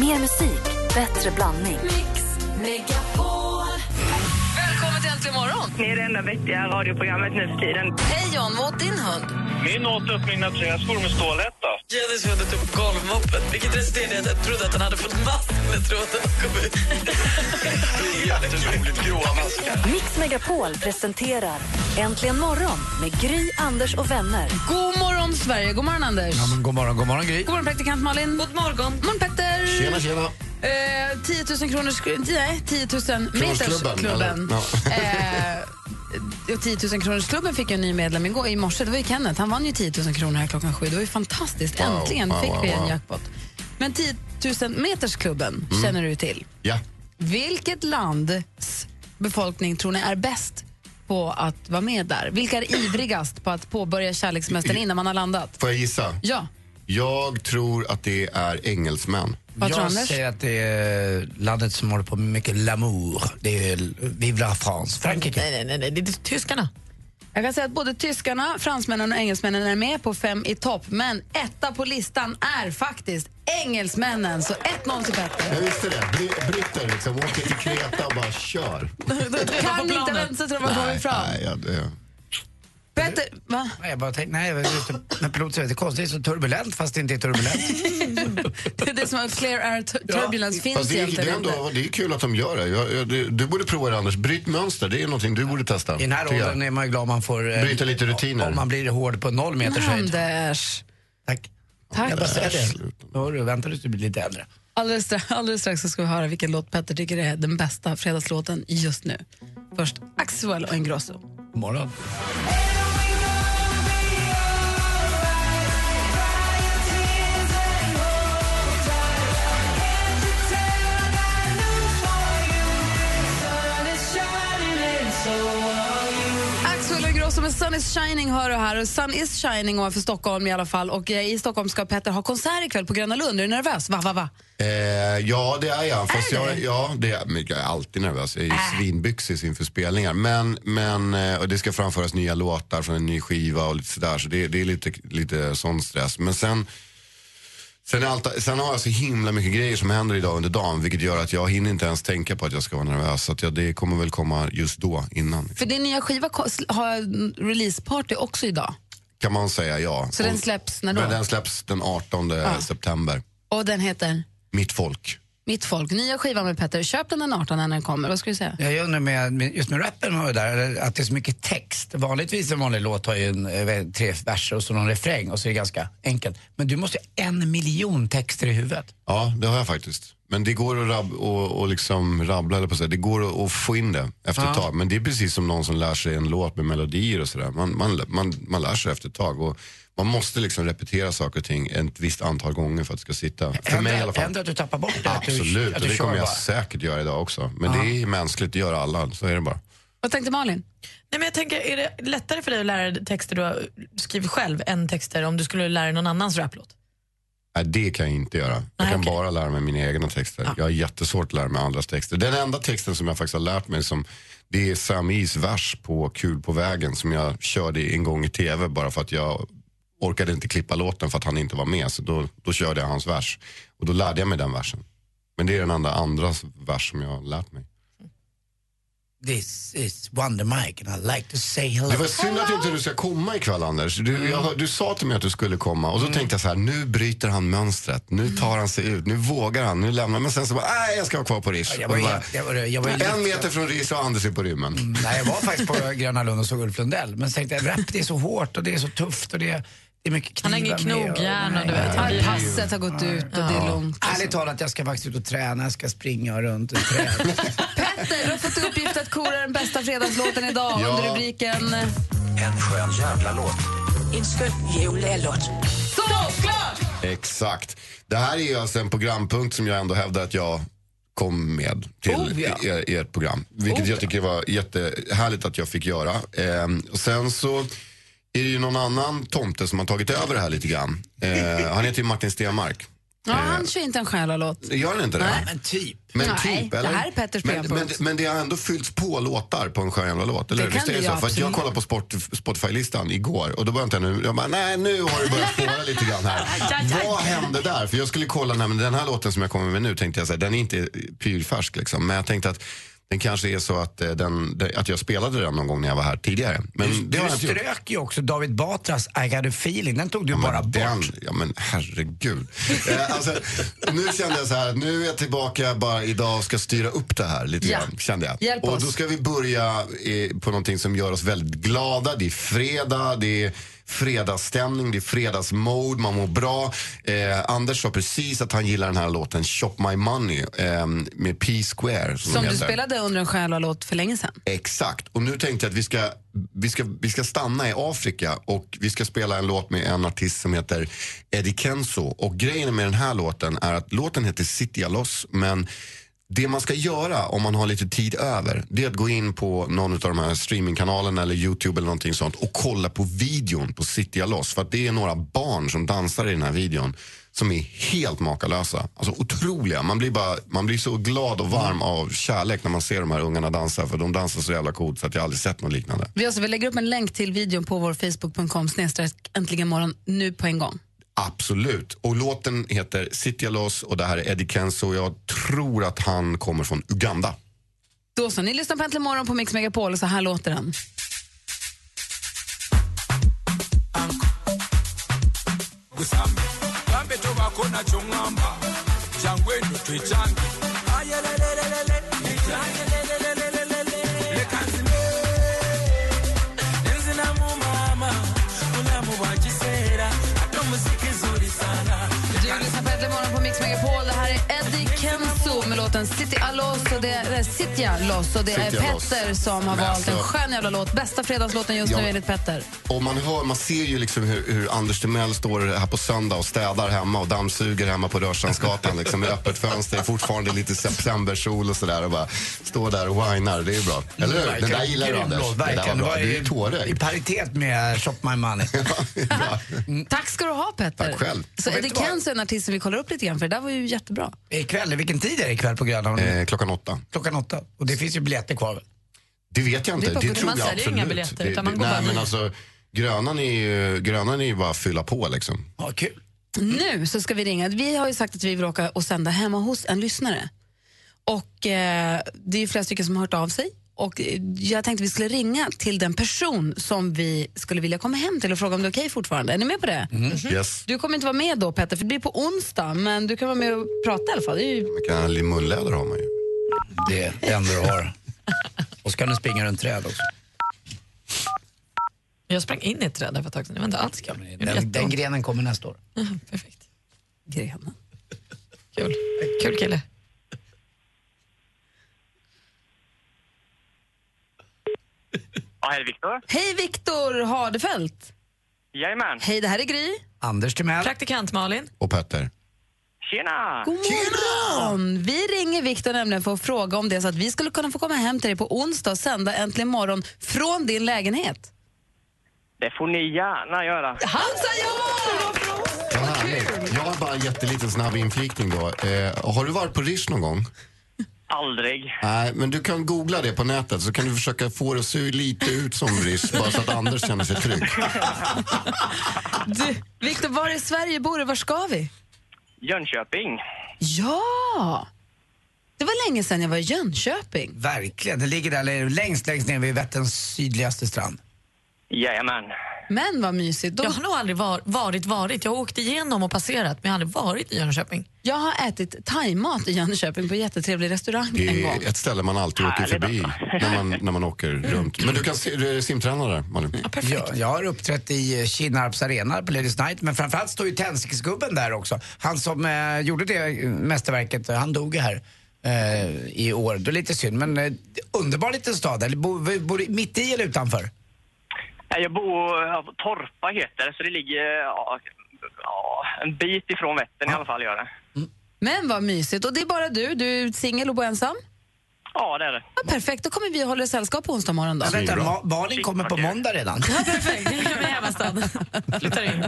Mer musik, bättre blandning. Välkommen till Äntligen morgon! Ni är det enda vettiga radioprogrammet nu för tiden. Hej John, vad åt din hund? Min åt upp mina träskor med stålhätta. Jenny hade upp upp golvmoppen, vilket resulterade i att jag trodde att han hade fått mask när tråden kom ut. Mix Megapol presenterar Äntligen morgon med Gry, Anders och vänner. God morgon Sverige, god morgon Anders. Ja, men god morgon, god morgon Gry. God morgon praktikant Malin. God morgon. God morgon Petter. Tjena, tjena. Eh, 10 000 kronors... sk- Nej, 10 000 metersklubben. klubben. Eh, och 10 000 kronorsklubben fick ju en ny medlem igår, i morse. Det var ju Kenneth. Han vann ju 10 000 kronor här klockan sju. Det var ju fantastiskt. Äntligen wow, fick vi en wow. Mm. jackpot. Men 10 000 metersklubben känner du till. Ja. Vilket lands befolkning tror ni är bäst på att vara med där? Vilka är ivrigast på att påbörja kärlekssemestern innan man har landat? Får jag gissa? Ja, Jag tror att det är engelsmän. vad tror jag Anders? säger att det är landet som håller på med mycket l'amour. Det är Vive la France, Frankrike. Nej, nej, nej, nej, det är tyskarna. Jag kan säga att både tyskarna, fransmännen och engelsmännen är med på fem i topp, men etta på listan är faktiskt engelsmännen. Så 1-0 till Petter. Jag visste det. Br- britter liksom åker till Kreta och bara kör. Kan inte vänta tills man kommer fram. nej, ja, det... Petter, va? Nej, jag bara tänkte, nej, jag var ute när piloten säger att det är konstigt, det är så turbulent fast det inte är turbulent. Det är det som är clear air tur- turbulence finns Fast det, är, det, är egentligen inte. ändå, det är kul att de gör det. Jag, jag, du, du borde prova det, Anders. Bryt mönster. Det är någonting du borde testa. I den här tycker jag. åldern är man ju glad om man får... eh, Bryta lite rutiner. Om man blir hård på noll meters höjd. Anders. Tack. Tack. Jag bara säger det. Hörru, vänta tills du blir lite äldre. Alldeles strax, alldeles strax så ska vi höra vilken låt Petter tycker är den bästa fredagslåten just nu. Först Axwell och Ingrosso. God morgon. Axwell och Ingrosso med Sun is shining hör du här. Och Sun is shining ovanför Stockholm i alla fall. Och eh, i Stockholm ska Petter ha konsert ikväll på Gröna Lund. Är du nervös? Va, va, va? Eh, ja, det är jag. Fast Är Äh. du? jag, ja, det är, men jag är alltid nervös. Jag är ju svinbyxis inför spelningar. Men, men eh, och det ska framföras nya låtar från en ny skiva och lite sådär. Så det, det är lite, lite sån stress. Men sen, sen, är allt, sen har jag så himla mycket grejer som händer idag under dagen. Vilket gör att jag hinner inte ens tänka på att jag ska vara nervös. Så att jag, det kommer väl komma just då, innan. För din nya skiva ko- sl- har releaseparty också idag. Kan man säga ja. Så den släpps när Men då? den släpps den 18 september. Och den heter? Mitt folk. Mitt folk. Nya skivan med Petter. Köp den den 18 när den kommer. Vad ska du säga? Jag undrar med, med- just med rappen var det där, att det är så mycket text. Vanligtvis en vanlig låt har ju en, eh, tre verser och så någon refräng och så är det ganska enkelt. Men du måste ju ha en miljon texter i huvudet. Ja, det har jag faktiskt. Men det går att rab- och, och liksom rabbla, eller på sig. det går att, att få in det efter ett tag. Men det är precis som någon som lär sig en låt med melodier och sådär. Man, man, man, man lär sig efter ett tag. Och man måste liksom repetera saker och ting ett visst antal gånger för att det ska sitta. För mig i alla fall. Händer att du tappar bort det? Att du, Absolut, att och du det kör kommer jag bara. säkert göra idag också. Men det är mänskligt, det gör alla. Så är det bara. Vad tänkte Malin? Nej, men jag tänker, är det lättare för dig att lära dig texter du har skrivit själv än texter om du skulle lära dig någon annans raplåt? Nej, det kan jag inte göra. Jag Nej, kan okej. bara lära mig mina egna texter. Jag har jättesvårt att lära mig andras texter. Den enda texten som jag faktiskt har lärt mig som, det är Sam Is vers på Kul på vägen som jag körde en gång i tv bara för att jag orkade inte klippa låten för att han inte var med. Så då, då körde jag hans vers och då lärde jag mig den versen. Men det är den enda andra vers som jag har lärt mig. This is Wonder Mike and I like to say hello. Det var synd att inte du ska komma ikväll Anders. Du, Mm. jag, hör- du sa till mig att du skulle komma och då tänkte jag så här, nu bryter han mönstret. Nu Mm. tar han sig ut, nu vågar han, nu lämnar han. Men sen så bara, nej jag ska vara kvar på Rish. Jag Och var, då bara, jag, jag var, jag var, Mm. En meter från Rish och Anders är på rymmen. Nej, jag var faktiskt på Gröna Lund och såg Ulf Lundell. Men så tänkte jag, rap det är så hårt och det är så tufft och det är, det är mycket Han knivar har ingen med knogjärn och du nej. vet. Ah, passet har gått ut och det är långt. Ärligt talat, jag ska faktiskt ut och träna, jag ska springa runt och träna. Petter, du har fått i uppgift att kora den bästa fredagslåten idag Ja. under rubriken... En skön jävla låt. Såklart! Exakt. Det här är ju alltså en programpunkt som jag ändå hävdar att jag kom med till Oh, ja. Oh, er, ert program. Vilket jag tycker var jättehärligt att jag fick göra. Ehm, och sen så är det ju någon annan tomte som har tagit över det här lite grann. Eh, han heter ju Martin Stenmark. Ja, han kör inte en själalåt. Gör den inte det? Men typ. Men Nej, typ, det eller? här är Petters men, program på men, oss. men det har ändå fyllts på låtar på en Stjärnjävla-låt, eller Det hur? kan Visst är det det ju, så? För att jag absolut. kollade på sport, Spotify-listan igår och då började jag tänka nu, jag bara, nej nu har det börjat spåra lite grann här. Vad hände där? För jag skulle kolla, nej, men den här låten som jag kommer med nu tänkte jag säga, den är inte pyrfärsk liksom, men jag tänkte att den kanske är så att, eh, den, att jag spelade den någon gång när jag var här tidigare. Men Mm, det har Du jag inte gjort. strök ju också David Batras I got a feeling. Den tog du bara bort. Den, ja men herregud. Eh, alltså, nu kände jag så här, nu är jag tillbaka bara idag och ska styra upp det här lite Ja. grann. Kände jag. Hjälp och oss. då ska vi börja eh, på någonting som gör oss väldigt glada. Det är fredag, det är fredagsstämning, det är fredagsmode, man mår bra. Eh, Anders sa precis att han gillar den här låten Shop My Money eh, med P-Square. Som de du heter. spelade under en själalåt för länge sedan. Exakt. Och nu tänkte jag att vi ska, vi, ska, vi ska stanna i Afrika och vi ska spela en låt med en artist som heter Eddie Kenzo. Och grejen med den här låten är att låten heter City Loss men det man ska göra om man har lite tid över det är att gå in på någon av de här streamingkanalerna eller Youtube eller någonting sånt och kolla på videon på City Loss för att det är några barn som dansar i den här videon som är helt makalösa. Alltså otroliga. Man blir, bara, man blir så glad och varm av kärlek när man ser de här ungarna dansa för de dansar så jävla coolt så att jag aldrig sett något liknande. Vi, alltså, vi lägger upp en länk till videon på vår facebook.com snedstreck äntligen morgon nu på en gång. Absolut. Och låten heter City Loss och det här är Eddie Kenzo och jag tror att han kommer från Uganda. Då så, ni lyssnar på Äntligen morgon på Mix Megapol och så här låter den. Du lyssnar på Äntligen morgon på Mix Megapol. Det här är Eddie Kenzo med låten City Allos och det är, Citya Loss och det är Citya Loss. Petter som har Men valt en alltså- skön jävla låt. Bästa fredagslåten just Ja. nu enligt Petter. Och man, hör, man ser ju liksom hur, hur Anders Timell står här på söndag och städar hemma och dammsuger hemma på Rörstrandsgatan liksom, med öppet fönster. Det är fortfarande lite septembersol och sådär och bara står där och whinar. Det är bra. Eller hur? Den där gillar du, Grym Anders. låt, Det där var verkligen. bra. Det var Du är i- I tårögd. paritet med Shop My Money. Bra. Tack ska du ha Petter. Mm. Tack själv. Så Och vet Eddie du vad? Kenzo är en artist som vi kollar upp lite grann för det där var ju jättebra. Ikväll, vilken tid är det ikväll på Grönan? Eh, klockan åtta. Klockan åtta. Och det finns ju biljetter kvar väl? Det vet jag inte. Det är bara Det, på- tror man jag säljer absolut. inga biljetter, det, utan man det- går bara nej, men dit. alltså, grönan, är ju, grönan är ju bara att fylla på liksom. Ja, kul. Mm. Nu så ska vi ringa. Vi har ju sagt att vi vill åka och sända hemma hos en lyssnare. Och eh, Det är ju flera stycken som har hört av sig. Och eh, Jag tänkte vi skulle ringa till den person som vi skulle vilja komma hem till och fråga om det är okej fortfarande. Är ni med på det? Mhm. Yes. Du kommer inte vara med då Petter, för det blir på onsdag. Men du kan vara med och prata i alla fall. Det är ju... Man kan, munläder har man ju. Det är det enda du har. Och ska den springa runt träd också. Jag sprang in i ett träd där för ett tag sedan. Det var inte alls kul. Det gjorde Den, den jätteont. grenen kommer nästa år. Perfekt. Grenen. Kul. Kul kille. Ja, hej Viktor. Hej Viktor Hardefelt! Jajamän. Hej, det här är Gry. Anders Timell. Praktikant Malin. Och Petter. Tjena! God morgon! Vi ringer Viktor nämligen för att fråga om det är så att vi skulle kunna få komma hem till dig på onsdag och sända Äntligen morgon från din lägenhet. Det får ni gärna göra. Han sa ja! Vad härligt. Jag har bara en jätteliten snabb inflikning då. Eh, har du varit på Rish någon gång? Aldrig. Nej, men du kan googla det på nätet så kan du försöka få det att se lite ut som Rish bara så att Anders känner sig trygg. Du, Viktor, var i Sverige bor du? Var ska vi? Jönköping. Ja! Det var länge sedan jag var i Jönköping. Verkligen. Den ligger där längst, längst ner vid Vätterns sydligaste strand. Jajamän. Men vad mysigt. Då, Jag har nog aldrig var, varit, varit. Jag har åkt igenom och passerat, men jag har aldrig varit i Jönköping. Jag har ätit thaimat i Jönköping på en jättetrevlig restaurang en Det gång. är ett ställe man alltid åker Härligt, förbi när man, när man åker runt. Men du kan se, du är simtränare där, Malin. Ja, jag har uppträtt i eh, Kinnarps arena på Ladies Night, men framförallt står ju Tändsticksgubben där också. Han som eh, gjorde det eh, mästerverket, eh, han dog ju här eh, i år. Det är lite synd, men eh, underbar liten stad. Eller bor, vi- bor du mitt i eller utanför? Nej, Jag bor ja, på Torpa heter det, så det ligger ja, ja, en bit ifrån Vättern i alla fall. Gör det. Men vad mysigt. Och det är bara du. Du är singel och bor ensam. Ja, det är det. Ja, perfekt, då kommer vi hålla dig sällskap på onsdag morgon då. Men vänta, Ma- Malin Shit, kommer på vad kul. måndag redan. Perfekt. Jag är hemmastad. Flyttar in.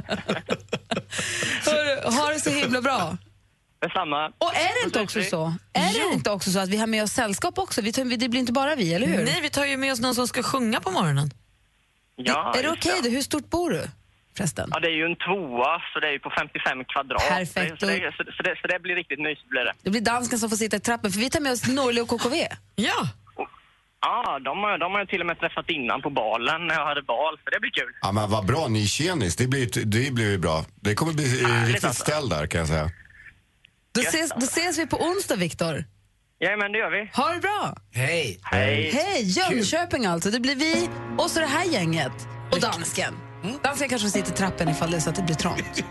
Hörru, ha det så himla bra. Detsamma. Och är det inte också så? Är det inte också så att vi har med oss sällskap också? Vi tar, det blir inte bara vi, eller hur? Nej, vi tar ju med oss någon som ska sjunga på morgonen. Ja, är det just okej då? Hur stort bor du? Förresten. Ja, det är ju en tvåa, så det är ju på 55 kvadrat. Perfekt. Så det, så, det, så, det, så det blir riktigt mysigt blir det. Det blir dansken som får sitta i trappen, för vi tar med oss Norli och KKV. Ja. Ja, de har, de har jag till och med träffat innan på balen när jag hade bal, så det blir kul. Ja, men vad bra, ny tjenis. Det blir, det blir ju bra. Det kommer bli eh, Härligt riktigt alltså. ställ där kan jag säga. Då ses, då ses vi på onsdag, Viktor. Jajamän, det gör vi. Ha det bra! Hej! Hej! Hej, Jönköping alltså. Det blir vi och så det här gänget och dansken. Mm. Dansken kanske sitter i trappen ifall det är så att det blir trångt.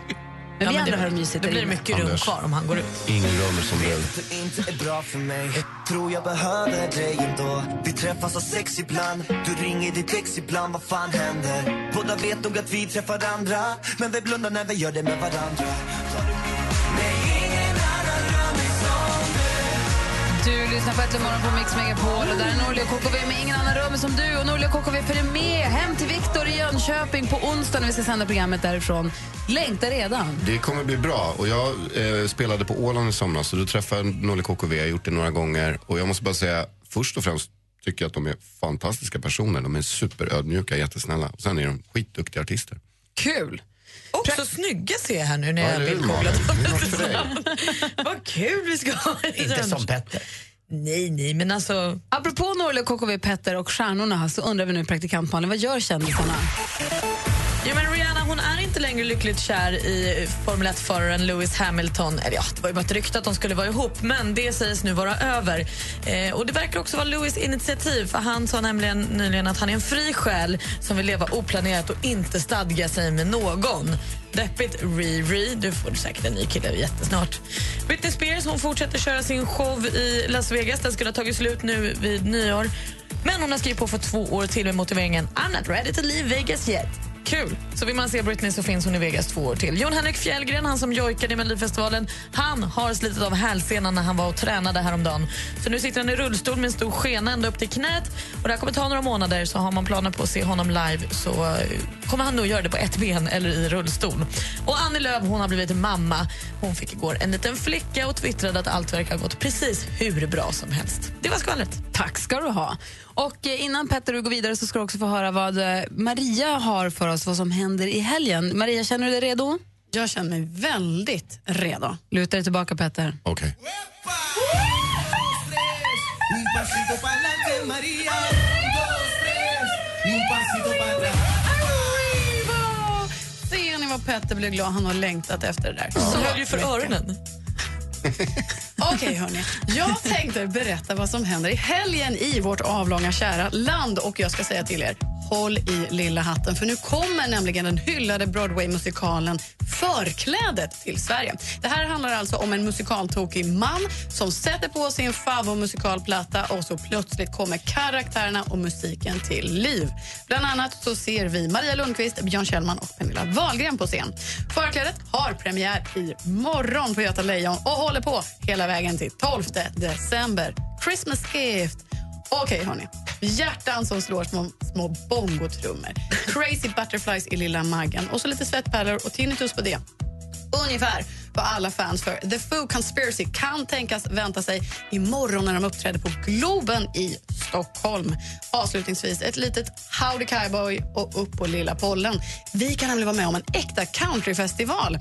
Men vi andra har det mysigt där Då blir det inne. mycket rum Anders. kvar om han går ut. Ingen rum som du. Du inte är bra för mig Tror jag behöver dig ändå Vi träffas av sex ibland Du ringer ditt ex ibland, vad fan händer? Båda vet nog att vi träffar andra Men vi blundar när vi gör det med varandra Du lyssnar på Äntligen morgon på Mix Megapol och där är Norli och KKV med ingen annan rum som du. Och Norli och KKV följer med hem till Viktor i Jönköping på onsdag när vi ska sända programmet därifrån. Längtar redan. Det kommer bli bra. Och jag eh, spelade på Åland i somras så då träffade jag Nolly KKV. Jag har gjort det några gånger. Och jag måste bara säga, först och främst tycker jag att de är fantastiska personer. De är superödmjuka, jättesnälla. Och sen är de skitduktiga artister. Kul! Också snygga ser jag här nu när Ja, jag det är bildkopplat Malin. Det honom är något lite för dig. grann. Vad kul vi ska ha i Inte Rönn. som Petter. Nej, nej, men alltså... Apropå Norli och KKV, Petter och stjärnorna så undrar vi nu praktikant Malin, vad gör kändisarna? Ja, men Rihanna hon är inte längre lyckligt kär i Formel 1-föraren Lewis Hamilton. Eller ja, det var ju bara ett rykte att de skulle vara ihop, men det sägs nu vara över. Eh, och Det verkar också vara Lewis initiativ, för han sa nämligen nyligen att han är en fri själ som vill leva oplanerat och inte stadga sig med någon. Deppigt Riri, du får säkert en ny kille jättesnart. Britney Spears hon fortsätter köra sin show i Las Vegas. Den skulle ha tagit slut nu vid nyår. Men hon har skrivit på för två år till med motiveringen I'm not ready to leave Vegas yet. Kul! Så vill man se Britney så finns hon i Vegas två år till. Jon Henrik Fjällgren, han som jojkade i Melodifestivalen, han har slitit av hälsenan när han var och tränade häromdagen. Så nu sitter han i rullstol med en stor skena ända upp till knät. Och det här kommer ta några månader, så har man planer på att se honom live så eh, kommer han nog göra det på ett ben eller i rullstol. Och Annie Lööf, hon har blivit mamma. Hon fick igår en liten flicka och twittrade att allt verkar ha gått precis hur bra som helst. Det var skvallret. Tack ska du ha. Och eh, innan Petter du går vidare så ska du också få höra vad eh, Maria har för oss, vad som händer i helgen. Maria, känner du dig redo? Jag känner mig väldigt redo. Luta dig tillbaka Petter. Okej. Ser ni vad Petter blev glad? Han har längtat efter det där. Så höll ju för öronen. Okej, hörni. Jag tänkte berätta vad som händer i helgen i vårt avlånga kära land. Och jag ska säga till er, håll i lilla hatten. För nu kommer nämligen den hyllade Broadway-musikalen Förklädet till Sverige. Det här handlar alltså om en musikaltokig man som sätter på sin favoritmusikalplatta och så plötsligt kommer karaktärerna och musiken till liv. Bland annat så ser vi Maria Lundqvist, Björn Kjellman och Pernilla Wahlgren på scen. Förklädet har premiär i morgon på Göta Lejon och håller på hela vägen till 12 december. Christmas gift! Okej, hörni. Hjärtan som slår små, små bongotrummor. Crazy butterflies i lilla Maggan och så lite svettpärlor och tinnitus på det ungefär vad alla fans för The Foo Conspiracy kan tänkas vänta sig imorgon när de uppträder på Globen i Stockholm. Avslutningsvis ett litet Howdy Cowboy och upp på Lilla Pollen. Vi kan nämligen vara med om en äkta countryfestival.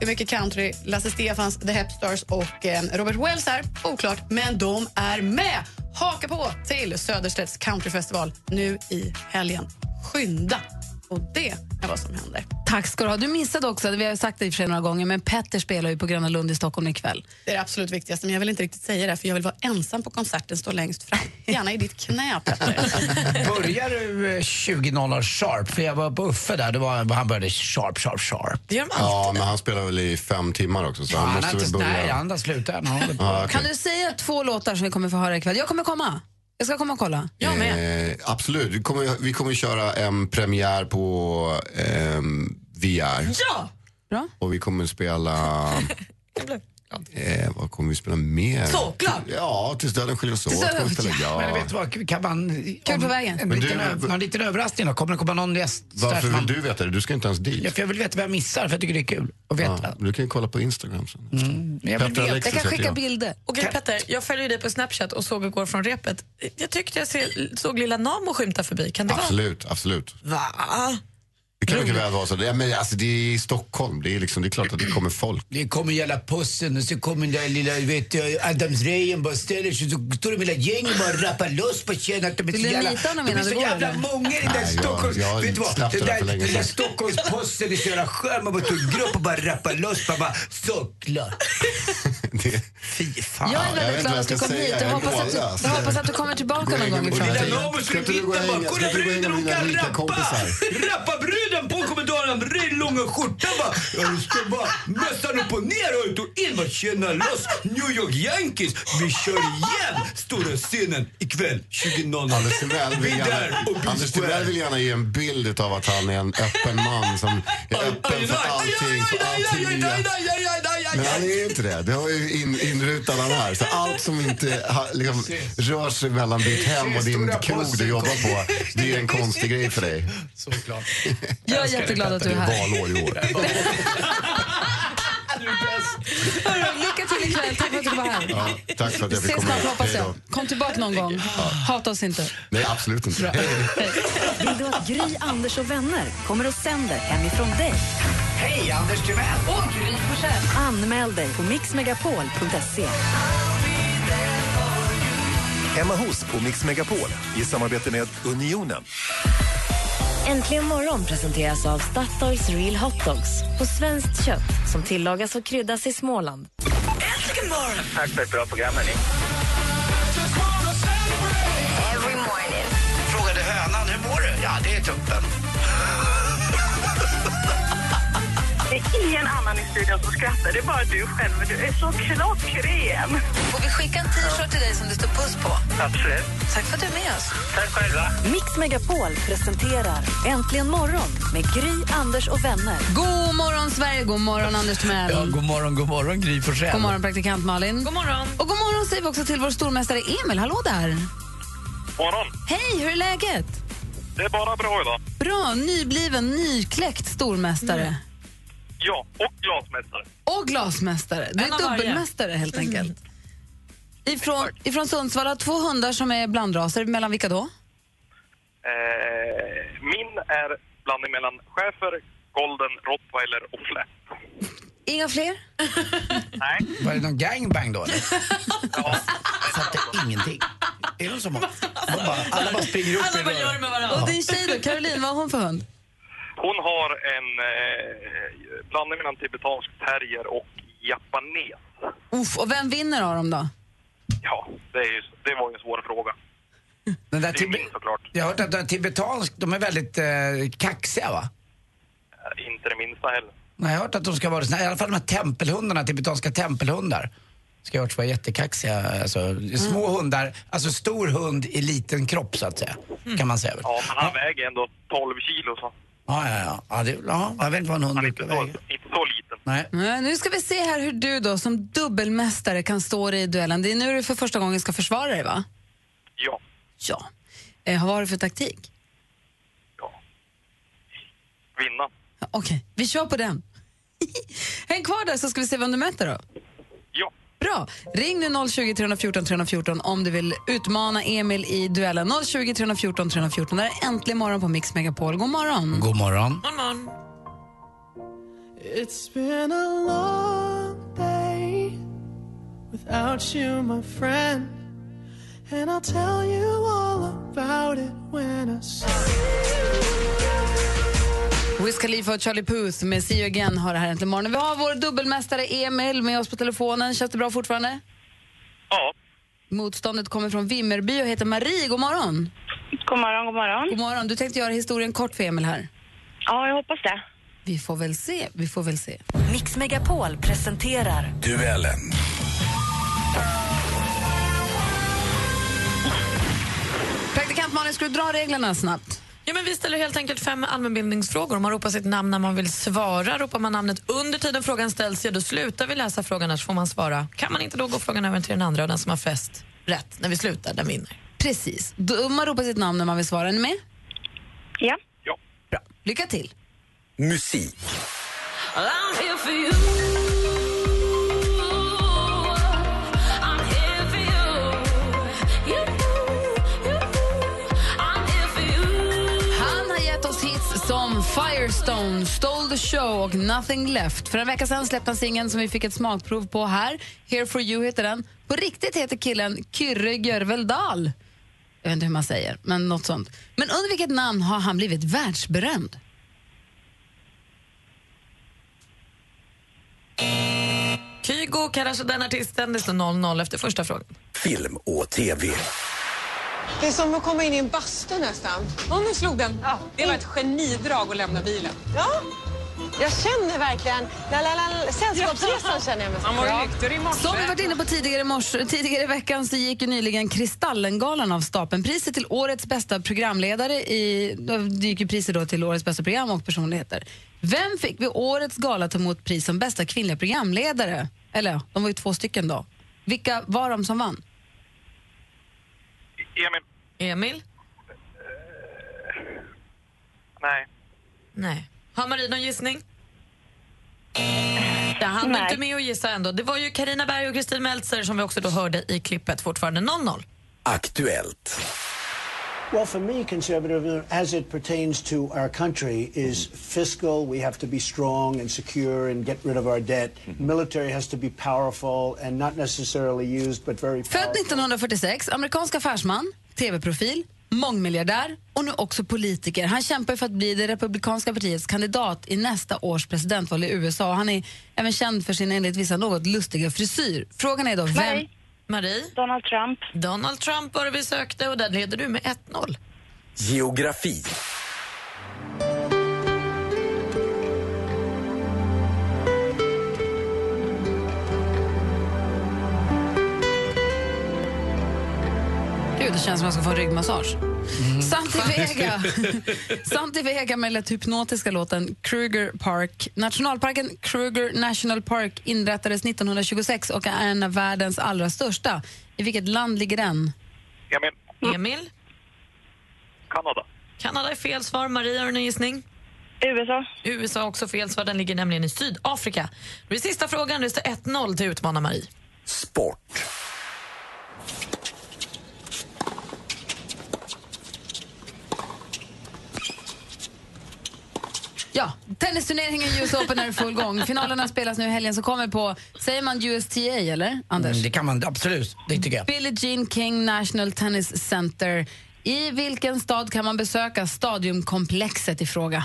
Hur mycket country? Lasse Stefans, The Hepstars och eh, Robert Wells är oklart, men de är med. Haka på till Söderstedts countryfestival nu i helgen. Skynda! Och det är vad som händer. Tack ska du ha. Du missade också, vi har sagt det i och för sig några gånger, men Petter spelar ju på Gröna Lund i Stockholm ikväll. Det är det absolut viktigaste, men jag vill inte riktigt säga det för jag vill vara ensam på konserten, stå längst fram. Gärna i ditt knä, Petter. Börjar du eh, 20.00 sharp? För jag var på Uffe där, det var, han började sharp, sharp, sharp. Det gör de alltid. Ja, men han spelar väl i fem timmar också så han Han har måste väl inte, nej, börja. han har slutat. Han har hållit på. Ja, okej. Kan du säga två låtar som vi kommer få höra ikväll? Jag kommer komma. Jag ska komma och kolla. Jag med. Eh, absolut. Vi kommer, vi kommer köra en premiär på ehm, VR. Ja! Bra? Och vi kommer spela Eh, vad kommer vi spela mer? Såklart! Ja, tills döden skiljer oss åt. döden- kommer vi spela, ja. Men vet du vad, kan man... på om- vägen. En Men liten, du- ö- någon liten överraskning då? Kommer det komma någon gäst? Varför Där man- vill du veta det? Du ska inte ens dit. Ja, för jag vill veta vad jag missar, för jag tycker det är kul att Ja, veta. du kan ju kolla på Instagram sen. Men jag vill Petter veta. Alexis Jag kan heter skicka jag. bilder. Och Gud, Petter, jag följer ju dig på Snapchat och såg igår från repet. Jag tyckte jag se, såg lilla Namo skymta förbi. Kan det Absolut, absolut. vara? Va? Det kan mycket väl vara så. Ja, men alltså, det är i Stockholm, det är, liksom, det är klart att det kommer folk. Det kommer hela pussen och så kommer den där lilla vet du, Adams Rejen bara ställer sig så står de hela gänget bara rappar loss på känn att de är så Vill du jävla... nita honom De är innan så du går, jävla eller? många i den där Nej, jag- Stockholms... jag har vet du vad? släppt Den det där för där, länge den där sedan. Stockholmsposten är så jävla skön. Man bara tog en grupp och bara rappar loss. Man bara såklart. Det, Fy fan. Jag är jag vet väldigt inte glad att vad du jag kom hit. Jag ska säga. Jag är hoppas att du, mållös. jag hoppas att du kommer tillbaka någon gång i Ska Lilla inte du framtiden. gå Nabo Ska skulle inte du hitta gå och bara, hänga? kolla Ska inte du gå och bruden hänga med dina hon kan rika rappa! kompisar? Rappa bruden på kommentaren, brun, långa skjorta bara. Jag ska bara mössan upp och ner och ut och in bara känna loss. New York Yankees, vi kör igen! Stora scenen ikväll 20.00. Anders Timell Vi vill, är där gärna- och vi Anders Timell vill gärna ge en bild av att han är en öppen man som är öppen för allting. För allting nya. Men han är inte det. Det har ju in, inrutat han här. Så allt som inte ha, liksom, rör sig mellan ditt hem och din krog du jobbar på, det är en konstig grej för dig. Såklart. Jag är jätteglad att du Det är är här. valår i år. Hörru, Lycka till ikväll. Tack för att du var här. Ja, tack för att Vi jag fick ses komma snart hit. hoppas Hej jag. då. Kom tillbaka någon gång. Hata oss inte. Nej, absolut inte. Hej då. Vill du att Gry, Anders och vänner kommer och sänder hemifrån dig? Hej, Anders Timell! Anmäl dig på mixmegapol.se. Hemma hos på Mix Megapol i samarbete med Unionen. Äntligen morgon presenteras av Statoils Real Hot Dogs på svenskt kött som tillagas och kryddas i Småland. Tack för ett bra program, hörni. Frågade hönan, hur mår du? Ja, det är tuppen. Det är ingen annan i studion som skrattar. Det är bara du själv. Du är så klockren. Får vi skicka en t-shirt till dig som det står puss på? Absolut. Tack för att du är med oss. Tack själva. Mix Megapol presenterar Äntligen morgon med Gry, Anders och vänner. God morgon, Sverige. God morgon, Anders Timell. Ja, god morgon, god morgon, Gry Forssell. God morgon, praktikant Malin. God morgon. Och god morgon säger vi också till vår stormästare Emil. Hallå där! Morgon. Hej, hur är läget? Det är bara bra idag. Bra, nybliven, nykläckt stormästare. Mm. Ja, och glasmästare. Och glasmästare. Du En är av varje. Mm. dubbelmästare helt enkelt. Ifrån, ifrån Sundsvall har två hundar som är blandraser. Mellan vilka då? Eh, min är blandning mellan schäfer, golden, rottweiler och flätt. Inga fler? Nej, Var det någon gangbang då eller? Jag fattar ingenting. Är de så många? Alltså, De bara, alla bara springer upp Alla i vad gör röret. med varandra? Och din tjej då, Caroline, vad har hon för hund? hon har en eh, blandning mellan tibetansk terrier och japanes. Uff, och vem vinner av dem då? Ja, det, är ju, det var ju en svår fråga. Den där Det är ju tibe- min såklart. jag har hört att de tibetansk, de är väldigt eh, kaxiga va? Eh, Inte det minsta heller. Nej, jag har hört att de ska vara såna, i alla fall de här tempelhundarna, tibetanska tempelhundar. Ska jag ha hört vara jättekaxiga. Alltså, små hundar, alltså stor hund i liten kropp så att säga. Kan man säga. väl? Ja, men han väger ändå 12 kilo så Ja, ja, ja. ja, det, ja jag vet inte vad en hund han är inte brukar så, väga. inte så liten. Nej. Nej, Nu ska vi se här hur du då som dubbelmästare kan stå dig i duellen. Det är nu du för första gången ska försvara dig va? Ja. Ja. Eh, vad har du för taktik? ja. Vinna. Ja, Okej, vi kör på den. Häng kvar där så ska vi se vem du möter då. Ja. Bra. Ring nu 020 314 314 om du vill utmana Emil i duellen. 020 314 314. Det här är Äntligen morgon på Mix Megapol. God morgon. God morgon. God morgon. It's been a long day without you, my friend. And I'll tell you all about it when I see Wiz Khalifa och Charlie Puth med See You Again har det här Äntligen morgon. Vi har vår dubbelmästare Emil med oss på telefonen. Känns det bra fortfarande? Ja. Motståndet kommer från Vimmerby och heter Marie. God morgon. God morgon, god morgon. God morgon. Du tänkte göra historien kort för Emil här. Ja, jag hoppas det. Vi får väl se. Vi får väl se. Mix Megapol presenterar Praktikant Malin, ska du dra reglerna snabbt? Ja, men vi ställer helt enkelt fem allmänbildningsfrågor. Man ropar sitt namn när man vill svara. Ropar man namnet under tiden frågan ställs, ja, då slutar vi läsa frågan. Annars får man svara. Kan man inte då går frågan över till den andra och den som har flest rätt när vi slutar, den vinner. Precis. Då- Man ropar sitt namn när man vill svara. Är ni med? Ja. Bra. Lycka till. Musik. Han har gett oss hits som Firestone, Stole the show och Nothing left. För en vecka sedan släppte han singeln som vi fick ett smakprov på här. Here for you heter den. På riktigt heter killen Kyrre Görveldal. Jag vet inte hur man säger, men något sånt. Men under vilket namn har han blivit världsberömd? Kygo kallar den artisten. Det står 0-0 efter första frågan. Film och TV. Det är som att komma in i en bastu nästan. Och nu slog den. Det var ett genidrag att lämna bilen. Ja. Jag känner verkligen la, la, la, sällskapsresan. Känner jag mig. Han var ju nykter i morse. Som vi varit inne på tidigare i, morse, tidigare i veckan så gick ju nyligen Kristallengalan av stapeln. Priset till årets bästa programledare i, då gick ju priset då till årets bästa program och personligheter. Vem fick vid årets gala ta emot pris som bästa kvinnliga programledare? Eller ja, de var ju två stycken då. Vilka var de som vann? Emil? Emil? Nej. Nej. Har Marie någon gissning? Ja, han var Nej. inte med och gissa ändå. Det var ju Karina Berg och Kristin Meltzer som vi också då hörde i klippet. Fortfarande 0-0. Aktuellt. Well, for me, conservatism, as it pertains to our country, is fiscal. We have to be strong and secure and get rid of our debt. Military has to be powerful and not necessarily used, but very Född powerful. 1946, amerikansk affärsman, tv-profil, mångmiljardär och nu också politiker. Han kämpar för att bli det republikanska partiets kandidat i nästa års presidentval i USA. Och Han är även känd för sin enligt vissa något lustiga frisyr. Frågan är då vem... Nej. Marie? Donald Trump. Donald Trump var det vi sökte och där leder du med 1-0. Geografi. Gud, det känns som att jag ska få en ryggmassage. Santi Vega. Santi Vega med lätt hypnotiska låten Kruger Park. Nationalparken Kruger National Park inrättades 1926 och är en av världens allra största. I vilket land ligger den? Emil? Mm. Emil? Kanada? Kanada är fel svar. Marie, har du någon gissning? USA. USA också fel svar. Den ligger nämligen i Sydafrika. Det är sista frågan. Det står 1-0 till Utmanar-Marie. Sport. Ja, tennisturneringen US Open är i full gång. Finalerna spelas nu i helgen som kommer på, säger man USTA eller? Anders? Mm, det kan man absolut, det tycker jag. Billie Jean King National Tennis Center. I vilken stad kan man besöka stadiumkomplexet i fråga?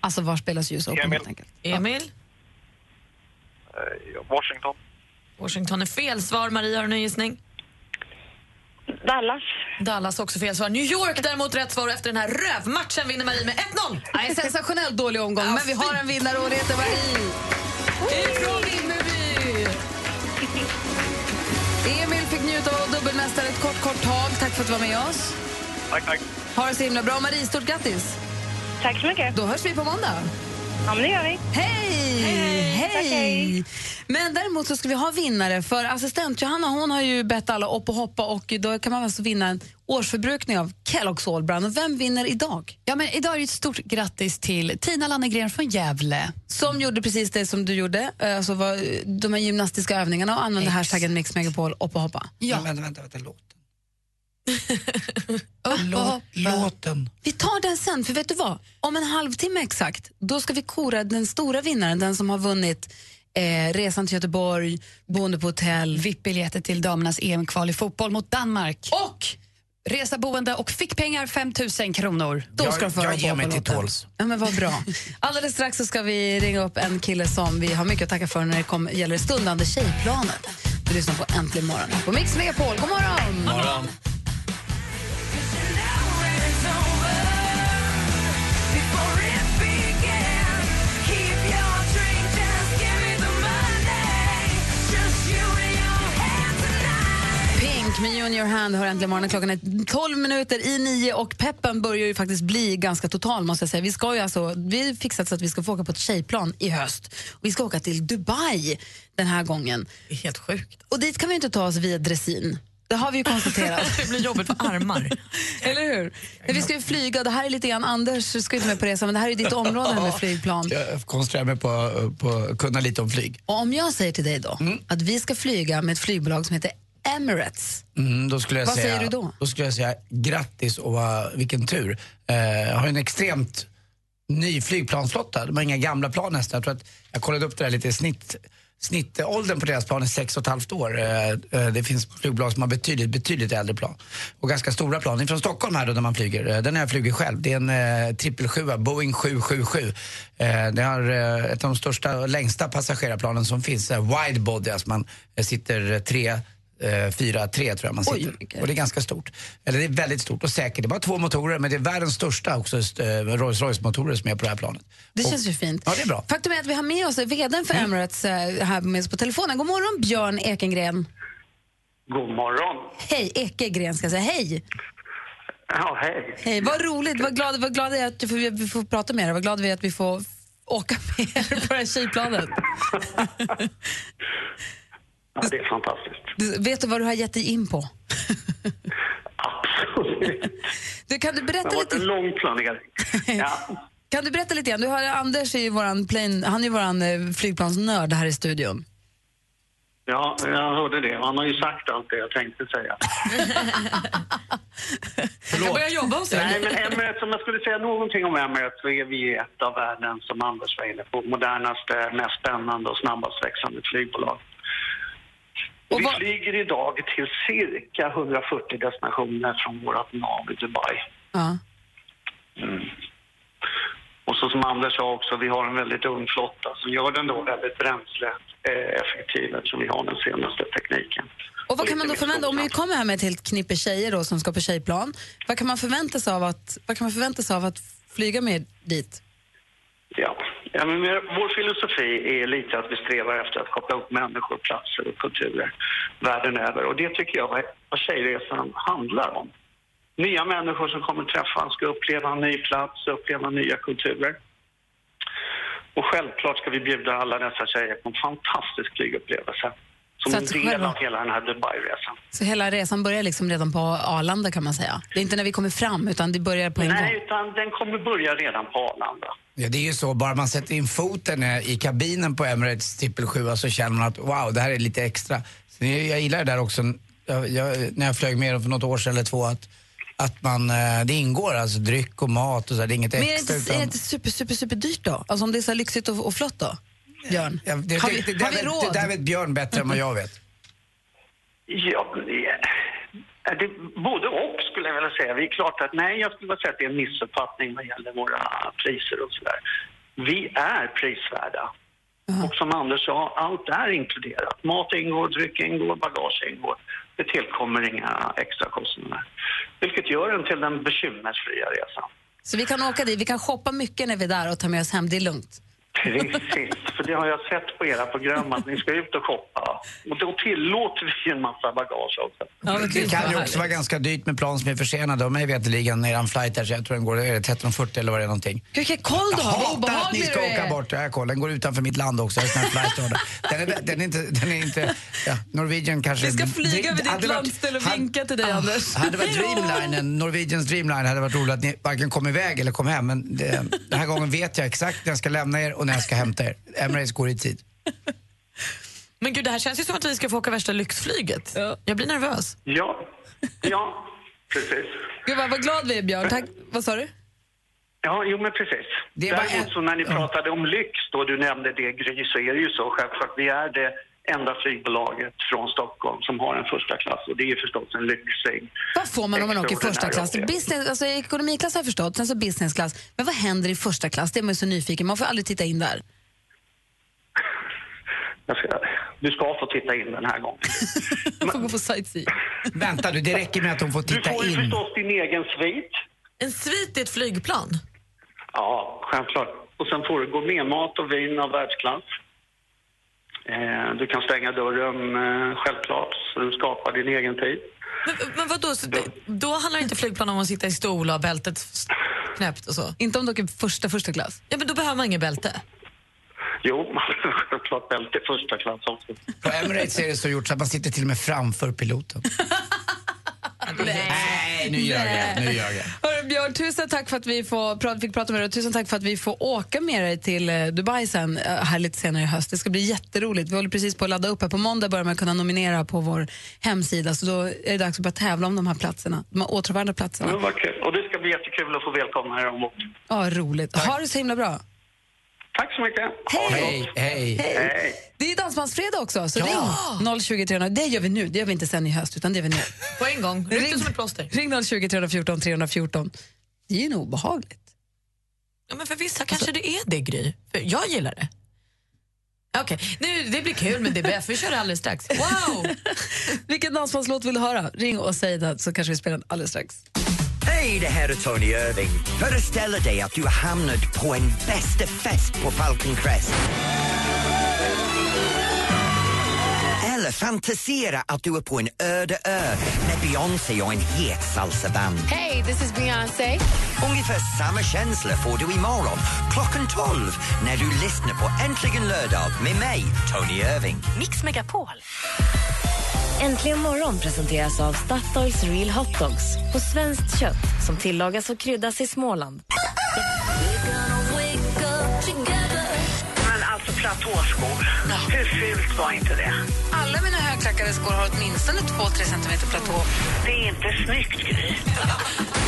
Alltså, var spelas US Open Emil. helt enkelt? Emil? Eh, Washington? Washington är fel svar. Marie, har du någon gissning? Dallas. Dallas också fel svar. New York däremot rätt svar. Och Efter den här rövmatchen vinner Marie med 1-0. Nej, sensationellt dålig omgång, men vi har en vinnare och det heter Marie. Ifrån Vimmerby! Emil fick njuta av att vara dubbelmästare ett kort, kort tag. Tack för att du var med oss. Tack, tack. Ha det så himla bra. Marie, stort grattis. Tack så mycket. Då hörs vi på måndag. Ja, men det gör vi. Hej! Hej! Tack, hej. Men däremot så ska vi ha vinnare för assistent Johanna hon har ju bett alla upp och hoppa och då kan man alltså vinna en årsförbrukning av Kellogg's All Brand. Och vem vinner idag? Ja, men idag är det ett stort grattis till Tina Lannegren från Gävle. Som gjorde precis det som du gjorde, eh, alltså var, eh, de här gymnastiska övningarna och använde hashtaggen Mix Megapol upp och hoppa. Ja. Men vänta, vänta, vänta, låten. Upp och Låt, hoppa. låten. Vi tar den sen, för vet du vad? Om en halvtimme exakt, då ska vi kora den stora vinnaren, den som har vunnit eh, resan till Göteborg, boende på hotell. VIP-biljetter till damernas EM-kval i fotboll mot Danmark. Och Resa, boende och fick pengar 5 000 kronor. Då ska de få jag, höra jag ger på mig till låten. tåls. Ja, men vad bra. Alldeles strax så ska vi ringa upp en kille som vi har mycket att tacka för när det kommer, gäller det stundande tjejplanet. Du lyssnar på Äntligen morgon här på Mix Megapol. God morgon! Morgon. Pink Pink med You in your hand hör äntligen morgonen. Klockan är 12 minuter i nio och peppen börjar ju faktiskt bli ganska total måste jag säga. Vi ska ju alltså, vi har fixat så att vi ska få åka på ett tjejplan i höst. Vi ska åka till Dubai den här gången. Det är helt sjukt. Och dit kan vi ju inte ta oss via Dressin. Det har vi ju konstaterat. det blir jobbigt för armar. Eller hur? Men vi ska ju flyga, det här är lite grann, Anders ska inte med på resan, men det här är ju ditt område här med flygplan. Jag koncentrerar eh, mig på, eh, på att kunna lite om flyg. Och om jag säger till dig då att vi ska flyga med ett flygbolag som heter Emirates. Mm, då skulle jag Vad säga, säger du då? Då skulle jag säga grattis och vad, vilken tur. Eh, har en extremt ny flygplansflotta. De har inga gamla plan nästan. Jag, tror att jag kollade upp det där lite. Snitt, snittåldern på deras plan är sex och ett halvt år. Eh, eh, det finns flygbolag som har betydligt, betydligt äldre plan. Och ganska stora plan. Det är från Stockholm här då när man flyger. Eh, Den har jag flugit själv. Det är en eh, 777, Boeing 777. Eh, det har eh, ett av de största och längsta passagerarplanen som finns. Eh, wide body, alltså man eh, sitter eh, tre Eh, 4-3 tror jag man sitter. och det är ganska stort. Eller det är väldigt stort och säkert. Det är bara två motorer men det är världens största också st- eh, Rolls Royce-motorer som är på det här planet. Det och, känns ju fint. Ja, det är bra. Faktum är att vi har med oss vdn för Emirates eh, här med oss på telefonen. God morgon Björn Ekengren. God morgon. Hej, Ekegren ska jag säga. Hej! Ja, hej. Hej, vad roligt. Vad glad, vad glad jag är att du får, vi får prata med er. Vad glad vi är att vi får f- åka med er på det här tjejplanet. Ja, det är fantastiskt. Du, vet du vad du har gett dig in på? Du, kan du Det berätta har varit lite? en lång planering. Ja. Kan du berätta lite grann? Du har Anders är ju våran plane, han är ju våran eh, flygplansnörd här i studion. ja, jag hörde det. Han har ju sagt allt det jag tänkte säga. Förlåt. Jag börjar jobba hos Nej, er. men Emirates, om jag skulle säga någonting om Emirates så är vi ett av världens, som Anders var inne på, modernaste, mest spännande och snabbast växande flygbolag. vi flyger idag till cirka 140 destinationer från vårt nav i Dubai. Ja. Mm. Och så som Anders sa också, vi har en väldigt ung flotta som gör den då väldigt bränsleeffektiv eftersom vi har den senaste tekniken. Och vad kan man då förvänta om vi kommer här med ett helt knippe tjejer då som ska på tjejplan? Vad kan man förvänta sig av att, vad kan man förvänta sig av att flyga med dit? Ja. Ja, men vår filosofi är lite att vi strävar efter att koppla upp människor, platser och kulturer världen över. Och det tycker jag är vad Tjejresan handlar om. Nya människor som kommer träffas ska uppleva en ny plats, uppleva nya kulturer. Och självklart ska vi bjuda alla dessa tjejer på en fantastisk flygupplevelse som Så en att del själva- av hela den här Dubai-resan. Så hela resan börjar liksom redan på Arlanda kan man säga. Det är inte när vi kommer fram utan det börjar på en gång. Nej, utan den kommer börja redan på Arlanda. Ja, det är ju så, bara man sätter in foten eh, i kabinen på Emirates 777 så känner man att wow, det här är lite extra. Sen är- jag gillar det där också, jag, jag, när jag flög med dem för något år sedan eller två, att, att man, eh, det ingår alltså dryck och mat och så, här, det är inget Men är det extra. inte, är det inte super, super, super dyrt då? Alltså om det är så här lyxigt och, och flott då? Björn? Ja, det, har vi, det, det, har vi där vet- råd? det där vet Björn bättre än vad jag vet. Ja, men det är det, både och skulle jag vilja säga. Det är klart att nej, jag skulle vilja säga att det är en missuppfattning vad gäller våra priser och sådär. Vi är prisvärda. Och som Anders sa, allt är inkluderat. Mat ingår, dryck ingår, bagage ingår. Det tillkommer inga extra kostnader. Vilket gör den till den bekymmersfria resan. Så vi kan åka dit, vi kan shoppa mycket när vi är där och ta med oss hem, det är lugnt. Precis, för det har jag sett på era program att ni ska ut och shoppa. Och då tillåter vi en massa bagage också. det, kan ju också vara ganska dyrt med plan som är försenade. Och mig veterligen är en flight här så jag tror den går är det 13.40 eller vad det är någonting. Vilken koll du jag har, vad hatar att ni obehaglig ska du åka är. bort. Jag kollar, den går utanför mitt land också. Jag har en sån här flight order. den, är, den är inte... Den är inte ja, Norwegian kanske... Vi ska flyga över Det- det hade ditt varit- landställe och hade- ah, vinka till dig, Anders. Hade det varit Hej då! Dreamlinen, Norwegians Dreamline hade varit roligt att ni varken kom iväg eller kom hem. Men det, den här gången vet jag exakt när jag ska lämna er och när jag ska hämta er. Emirates går i tid. Men gud, det här känns ju som att vi ska få åka värsta lyxflyget. Jag blir nervös. Ja, ja, precis. Gud vad, vad glad vi är Björn, tack. Vad sa du? Ja, jo men precis. Det är bara Däremot en- så när ni pratade om lyx då, du nämnde det Gry, så är det ju så självklart. Vi är det enda flygbolaget från Stockholm som har en första klass och det är ju förstås en lyxig. Vad får man om man åker Extraordinär första klass? upplevelse. Business, alltså ekonomiklass har jag förstått, sen så businessklass. Men vad händer i första klass? Det är man ju så nyfiken, man får aldrig titta in där. Jag ska, du ska få titta in den här gången. Man får gå på sightseeing. Vänta du, det räcker med att de får Du titta får ju in. förstås din egen svit. En svit i ett flygplan? Ja, självklart. Och sen får du gå med mat och vin av världsklass. Eh, Du kan stänga dörren eh, självklart, så du skapar din egen tid. Men vadå, så det, då handlar inte flygplan om att sitta i stol och ha bältet s- knäppt och så? Inte om du åker första, första klass? Ja, men då behöver man inget bälte. Jo, man har självklart bälte i första klass också. På Emirates är det så gjort så att man sitter till och med framför piloten. Nej, nu gör jag. Nu gör jag. Hörru, Björn, tusen tack för att vi får, pra- fick prata med dig och tusen tack för att vi får åka med dig till eh, Dubai sen, eh, här lite senare i höst. Det ska bli jätteroligt. Vi håller precis på att ladda upp här. På måndag börjar man kunna nominera på vår hemsida så då är det dags att börja tävla om de här platserna, de här återvärda platserna. Men vad kul. Och det ska bli jättekul att få välkomna er ombord. Ja, roligt. Ha det så himla bra. Tack så mycket. Ha det Hej, gott. hej. Hej. Det är ju Dansbandsfredag också, så Ja. ring 020 300. Det gör vi nu, det gör vi inte sen i höst, utan det gör vi nu. På en gång. Rykt som ett plåster. Ring 020 314 314. Det är ju nog obehagligt. Ja, men för vissa kanske det är det, Gry. För Alltså- jag gillar det. Okej, nu det blir kul med DBF. Vi kör det alldeles strax. Wow! Vilken dansbandslåt vill du höra? Ring och säg det så kanske vi spelar den alldeles strax. Hej, det här är Tony Irving. Föreställ dig att du har hamnat på en bästa fest på Falcon Crest. Eller fantisera att du är på en öde ö med Beyoncé och en het salsaband. Hey, this is Beyoncé. Ungefär samma känsla får du imorgon klockan 12 när du lyssnar på Äntligen lördag med mig, Tony Irving. Mix Megapol. Äntligen morgon presenteras av Statoils Real Hot Dogs på svenskt kött som tillagas och kryddas i Småland. Men alltså platåskor, hur fult var inte det? Alla mina högklackade skor har åtminstone 2-3 centimeter platå. Det är inte snyggt, Gry.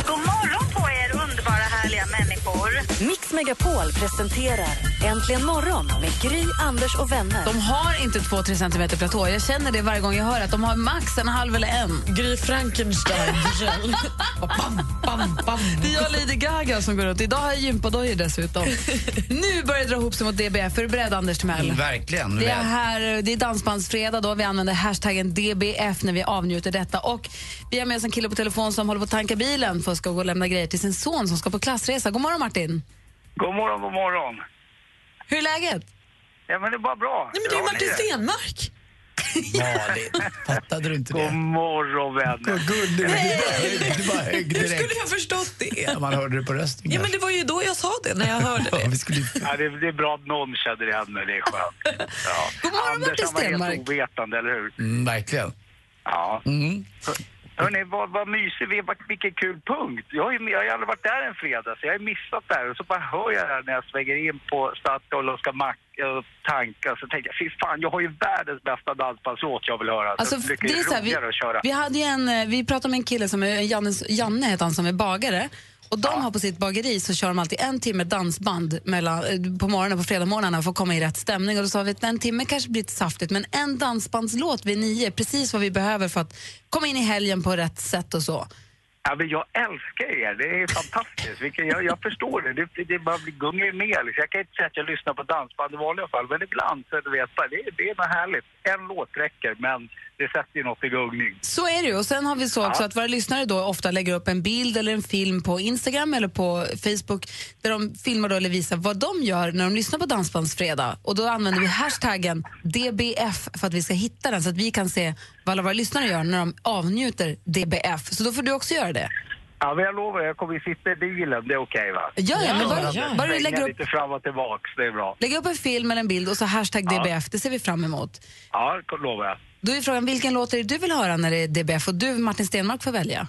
God morgon på er, underbara, härliga människor. Mix Megapol presenterar Äntligen morgon med Gry, Anders och vänner. De har inte 2-3 centimeter platå. Jag känner det varje gång jag hör att de har max en halv eller en. Gry Frankenstein. Det är jag Lady Gaga som går runt. Idag har jag gympadojor dessutom. nu börjar det dra ihop sig mot DBF. Är du beredd, Anders Timell? Verkligen. Det är, väl. här, det är dansbandsfredag då. Vi använder hashtaggen DBF när vi avnjuter detta. Och vi har med oss en kille på telefon som håller på att tanka bilen för att ska gå och lämna grejer till sin son som ska på klassresa. God morgon Martin! God morgon, god morgon. Hur är läget? Ja, men det är bara bra. Nej, men det är ju Martin Stenmark. Malin, fattade du inte det? God morgon vänner. Gullig, du bara högg, du bara högg Hur skulle direkt. jag ha förstått det? Man hörde det på rösten. Ja, men det var ju då jag sa det, när jag hörde det. Ja, det, är- det är bra att någon känner igen mig, det är skönt. Ja. God morgon, Anders, Martin han var Stenmark. helt ovetande, eller hur? Mm, verkligen. Ja. Mm. Hörrni, vad, vad mysigt, vi- vad- vilken kul punkt. Jag har, ju, jag har ju aldrig varit där en fredag, så jag har ju missat det här. Och så bara hör jag det här när jag svänger in på Statoil och ska mack- och tanka. Så tänker jag, fy fan, jag har ju världens bästa dansbandslåt jag vill höra. Alltså, så det är så här, vi, roligare att köra. vi, hade ju en, eh, vi pratade med en kille som är Janne, Janne heter han, som är bagare. Och de har på sitt bageri så kör de alltid en timme dansband mellan, eh, på morgonen på fredagsmorgnarna för att komma i rätt stämning. Och då sa vi att en timme kanske blir lite saftigt men en dansbandslåt vid nio är precis vad vi behöver för att komma in i helgen på rätt sätt och så. Ja, men jag älskar er, det är fantastiskt. Vilken, jag, jag förstår det, det, det bara blir gungar med. Liksom. Jag kan inte säga att jag lyssnar på dansband i vanliga fall, men ibland så du vet bara, det, är- det är något härligt. En låt räcker, men det sätter ju något i gungning. Så är det ju. Och sen har vi så också Ja. att våra lyssnare då ofta lägger upp en bild eller en film på Instagram eller på Facebook där de filmar då eller visar vad de gör när de lyssnar på Dansbandsfredag. Och då använder vi hashtaggen DBF för att vi ska hitta den så att vi kan se vad alla våra lyssnare gör när de avnjuter DBF. Så då får du också göra det. Ja, men jag lovar, jag kommer ju sitta i bilen, det är okej va? Ja, ja, men bara- Svänga bara du lägger upp- lite fram och tillbaks, det är bra. Lägg upp en film eller en bild och så hashtag DBF, det ser vi fram emot. Ja, det lovar jag. Då är frågan vilken låt är det du vill höra när det är DBF och du Martin Stenmark får välja.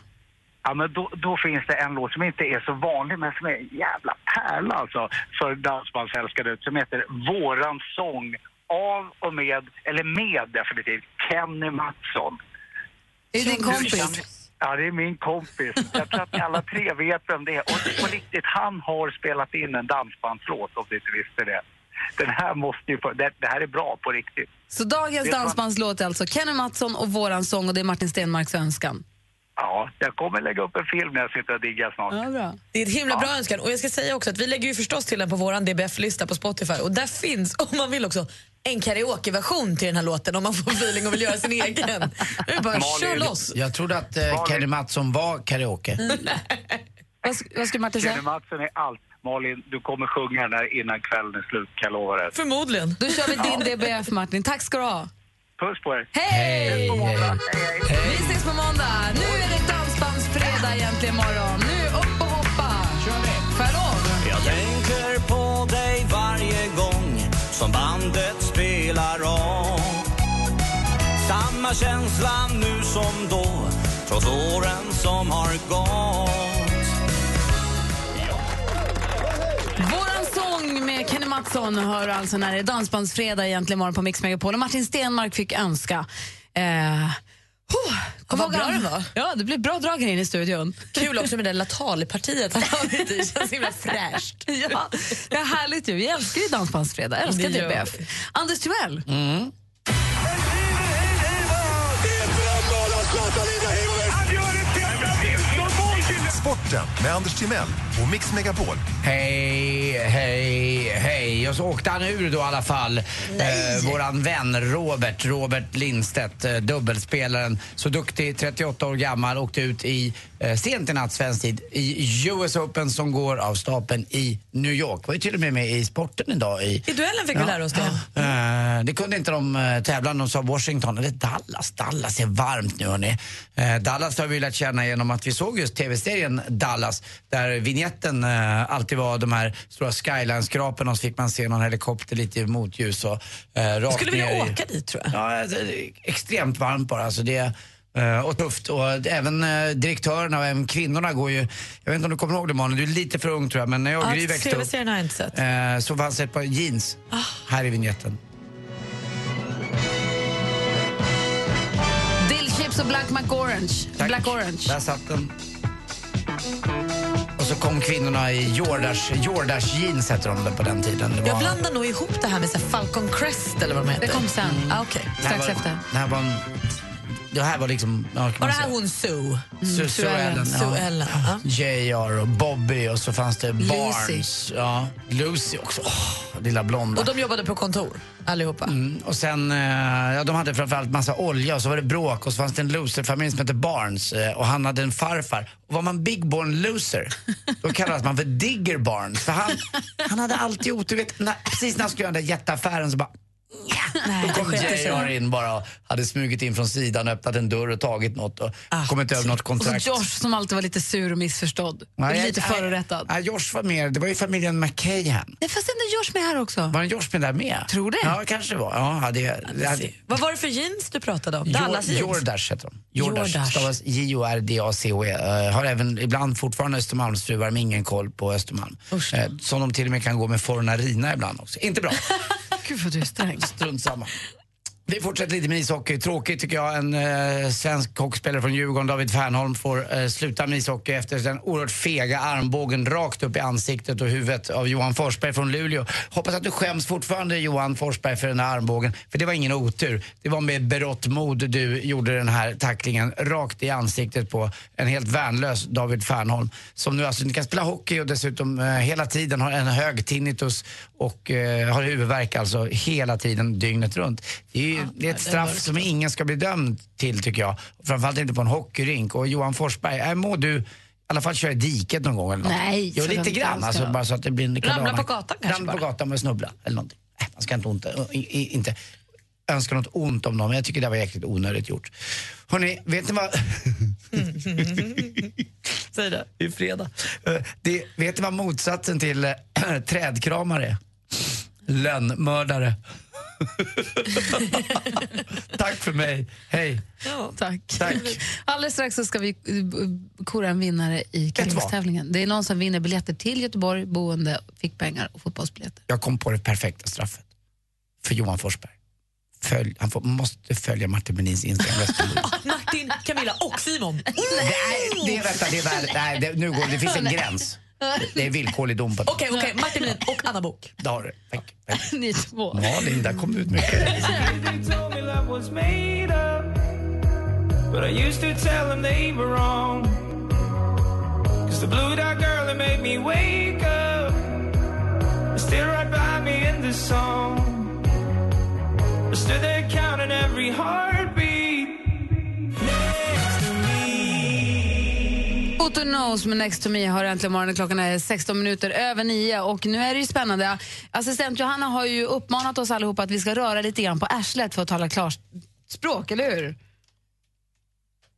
Ja, men då, då finns det en låt som inte är så vanlig, men som är en jävla pärla alltså, för dansbandsälskare ut, som heter Våran sång av och med, eller med definitivt, Kenny Mattsson. Är det din kompis? Ja, det är min kompis. Jag tror att ni alla tre vet vem det är. Och på riktigt, han har spelat in en dansbandslåt, om du inte visste det. Den här måste ju få, det, det här är bra på riktigt. Så dagens Vet man- dansbandslåt är alltså Kenny Mattsson och Våran sång och det är Martin Stenmarks önskan. Ja, jag kommer lägga upp en film när jag sitter och diggar snart. Det är ett himla bra önskan. Och jag ska säga också att vi lägger ju förstås till den på vår DBF-lista på Spotify. Och där finns, om man vill också, en karaokeversion till den här låten om man får feeling och vill göra sin egen. Det är bara kör loss. Jag trodde att eh, Kenny Mattsson var karaoke. Vad, sk- vad skulle Martin säga? Kenny Mattsson är allt. Malin, du kommer sjunga den här innan kvällen är slut, kan jag lova dig. Förmodligen. Då kör vi din DBF, Martin. Tack ska du ha. Puss på er! Hej! Vi ses på måndag. Nu är det dansbandsfredag egentligen imorgon. Nu upp och hoppa! Kör vi! Får jag lov? Jag tänker på dig varje gång som bandet spelar om Samma känsla nu som då, trots åren som har gått Våran sång med Kenny Mattsson hör du alltså när det är dansbandsfredag egentligen imorgon på Mix Megapol. Och Martin Stenmark fick önska. Eh, huh, kom vad ihåg bra han- det var. Ja, det blev bra drag här inne i studion. Kul också med det där Latal-partiet han har varit i. Det känns så himla fräscht. ja, det är härligt ju. Vi älskar ju dansbandsfredag. Älskar Det gör DBF. Anders Timell. Sporten med Anders Timell och Mix Megapol. Hej, hej, hej. Och så åkte han ur då i alla fall. Eh, våran vän Robert, Robert Lindstedt, eh, dubbelspelaren. Så duktig, 38 år gammal, åkte ut i eh, sent i natt svensk tid i US Open som går av stapeln i New York. Var ju till och med med i sporten idag. I, I duellen fick vi lära oss det. Eh, det kunde inte de eh, tävlande. De sa Washington eller Dallas. Dallas är varmt nu hörni. Eh, Dallas har vi lärt känna genom att vi såg just tv-serien Dallas där vignetten eh, alltid var de här stora skyline-skrapen och så fick man se någon helikopter lite i motljus och eh, rakt Skulle ner vilja i... åka dit tror jag. Ja, eh, det är extremt varmt bara. Alltså det, eh, och tufft. Och även eh, direktörerna och även kvinnorna går ju... Jag vet inte om du kommer ihåg det Malin, du är lite för ung tror jag, men när jag och Gry Allt växte upp tv-serien har jag inte sett. Ah. eh, så fanns det ett par jeans här i vignetten. Dillchips och Black McOrange. Black Orange. Där satt den. Och så kom kvinnorna i Jordash, Jordash jeans hette de på den tiden. Det Jag blandar nog ihop det här med så här Falcon Crest eller vad de heter. Det kom sen. Ah, okay. Det här var- Det här var en... Det här var liksom... ja, kan Var man det här säga. hon Sue? Sue, Sue Ellen. Sue Ellen. Ja. J.R. och Bobby och så fanns det Lucy. Barnes. Ja. Lucy också. Åh, lilla blonda. Och de jobbade på kontor, allihopa. Mm, och sen, eh, ja, de hade framförallt massa olja och så var det bråk och så fanns det en loserfamilj som hette Barnes eh, och han hade en farfar. Och var man big born loser, då kallades man för digger Barnes. För han, han hade alltid otur. Vet, när, precis när han skulle göra den där jätteaffären så bara då kom J.R. in bara och hade smugit in från sidan, öppnat en dörr och tagit något och kommit över något Och Ah, så kontrakt. Josh som alltid var lite sur och missförstådd. och lite förorättad. Nej, Josh var mer, det var ju familjen McCahan. Nej, fast ändå Josh med här också. Var en Josh med där med? Tror det. Ja, kanske det var. Ja, det, det hade, Vad var det för jeans du pratade om? Jor- Dallas jeans? Jordash heter de. Jordash. Jordash. Stavas J-O-R-D-A-C-H-E. Eh, har även ibland fortfarande Östermalmsfruar med ingen koll på Östermalm. Eh, som de till och med kan gå med Fornarina ibland också. Inte bra. Gud vad du är sträng. Strunt samma. Vi fortsätter lite med ishockey. Tråkigt tycker jag. En eh, svensk hockeyspelare från Djurgården, David Fernholm, får eh, sluta med ishockey efter den oerhört fega armbågen rakt upp i ansiktet och huvudet av Johan Forsberg från Luleå. Hoppas att du skäms fortfarande Johan Forsberg för den här armbågen, för det var ingen otur. Det var med berått mod du gjorde den här tacklingen rakt i ansiktet på en helt värnlös David Fernholm som nu alltså inte kan spela hockey och dessutom eh, hela tiden har en hög tinnitus och eh, har huvudvärk alltså hela tiden dygnet runt. Det är, ju, det är ett straff som ingen ska bli dömd till tycker jag. Framförallt inte på en hockeyrink. Och Johan Forsberg, äh, må du i alla fall köra i diket någon gång eller något. Nej, Jo, så lite vem grann fan alltså, ska- bara så att det blir en Ramla kardana- på gatan kanske Ramla på bara. gatan och snubbla eller någonting. Äh, man ska inte, ont, i- i- inte önska något ont om någon, men jag tycker det var jäkligt onödigt gjort. Hörni, vet ni vad... Säg det. Det är fredag. Eh, Det, vet du vad motsatsen till eh, trädkramare är? Lönnmördare. Tack för mig. Hej. Tack. Tack. Alldeles strax så ska vi eh, kora en vinnare i du vad? killingstävlingen. Det är någon som vinner biljetter till Göteborg, boende, fick pengar och fotbollsbiljetter. Jag kom på det perfekta straffet för Johan Forsberg. Följ, han får, måste följa Martin Melins Instagram. resten av livet. Ah, Martin, Camilla och Simon. Nej, det, vänta, det, är väl, nej, det, nu går, det finns en gräns. Det är villkorlig dom på det. Okej, okej. Martin Melin och Anna Bok. Där har du. Tack. Ni två. Malin, där kom du ut mycket. They told me love was made up, but I used to tell them they were wrong. Cause the blue dot girl that made me wake up is still right by me in this song. I stood there counting every heartbeat next to me. Och Toto Knows med Next to me har äntligen morgonen. Klockan är 16 minuter över 9 och nu är det ju spännande. Assistent Johanna har ju uppmanat oss allihopa att vi ska röra lite grann på arslet för att tala klarspråk, eller hur?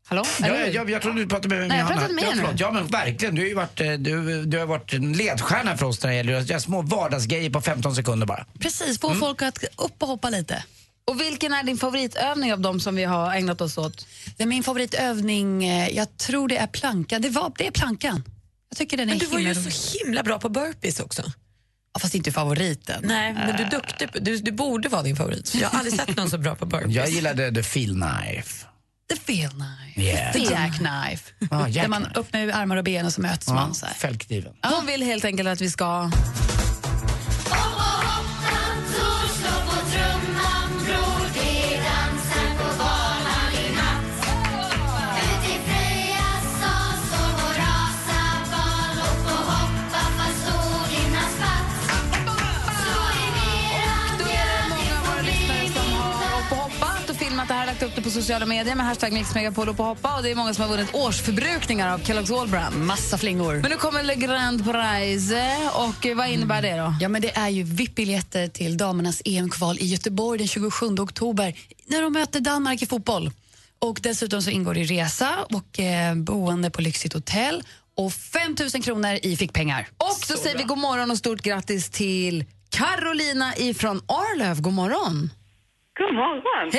Hallå? Ja, Eller hur? jag, jag, jag trodde du pratade med Nej, jag Johanna. pratade med ja, henne. förlåt. ja, men verkligen. Du har ju varit, eh, du, du har varit en ledstjärna för oss när det gäller att göra små vardagsgrejer på 15 sekunder bara. Precis, få Mm. folk att upp och hoppa lite. Och vilken är din favoritövning av de som vi har ägnat oss åt? Det är min favoritövning, eh, jag tror det är planka. Det, var, det är plankan. Jag tycker den är Men du var himla ju rolig. så himla bra på burpees också. Ja, fast inte favoriten. Eh. Nej, men du är duktig. på- Du, du borde vara din favorit. Jag har aldrig sett någon så bra på burpees. Jag gillade the feel knife. The feel knife. Yeah. The jackknife. Ah, Där jackknife. man öppnar ju armar och ben och så möts Ja, man. Så här. fällkniven. Hon vill helt enkelt att vi ska... Upp och hoppat och filmat det här lagt upp det på sociala medier med hashtag mixmegapol upp och hoppa och det är många som har vunnit årsförbrukningar av Kellogg's All Brand. Massa flingor. Men nu kommer Le Grand Prize och eh, vad innebär det då? Ja, men det är ju VIP-biljetter till damernas EM-kval i Göteborg den 27 oktober när de möter Danmark i fotboll. Och dessutom så ingår det resa och eh, boende på lyxigt hotell och 5 000 kronor i fickpengar. Och så, säger vi god morgon och stort grattis till Carolina ifrån Arlöv. God morgon! God morgon!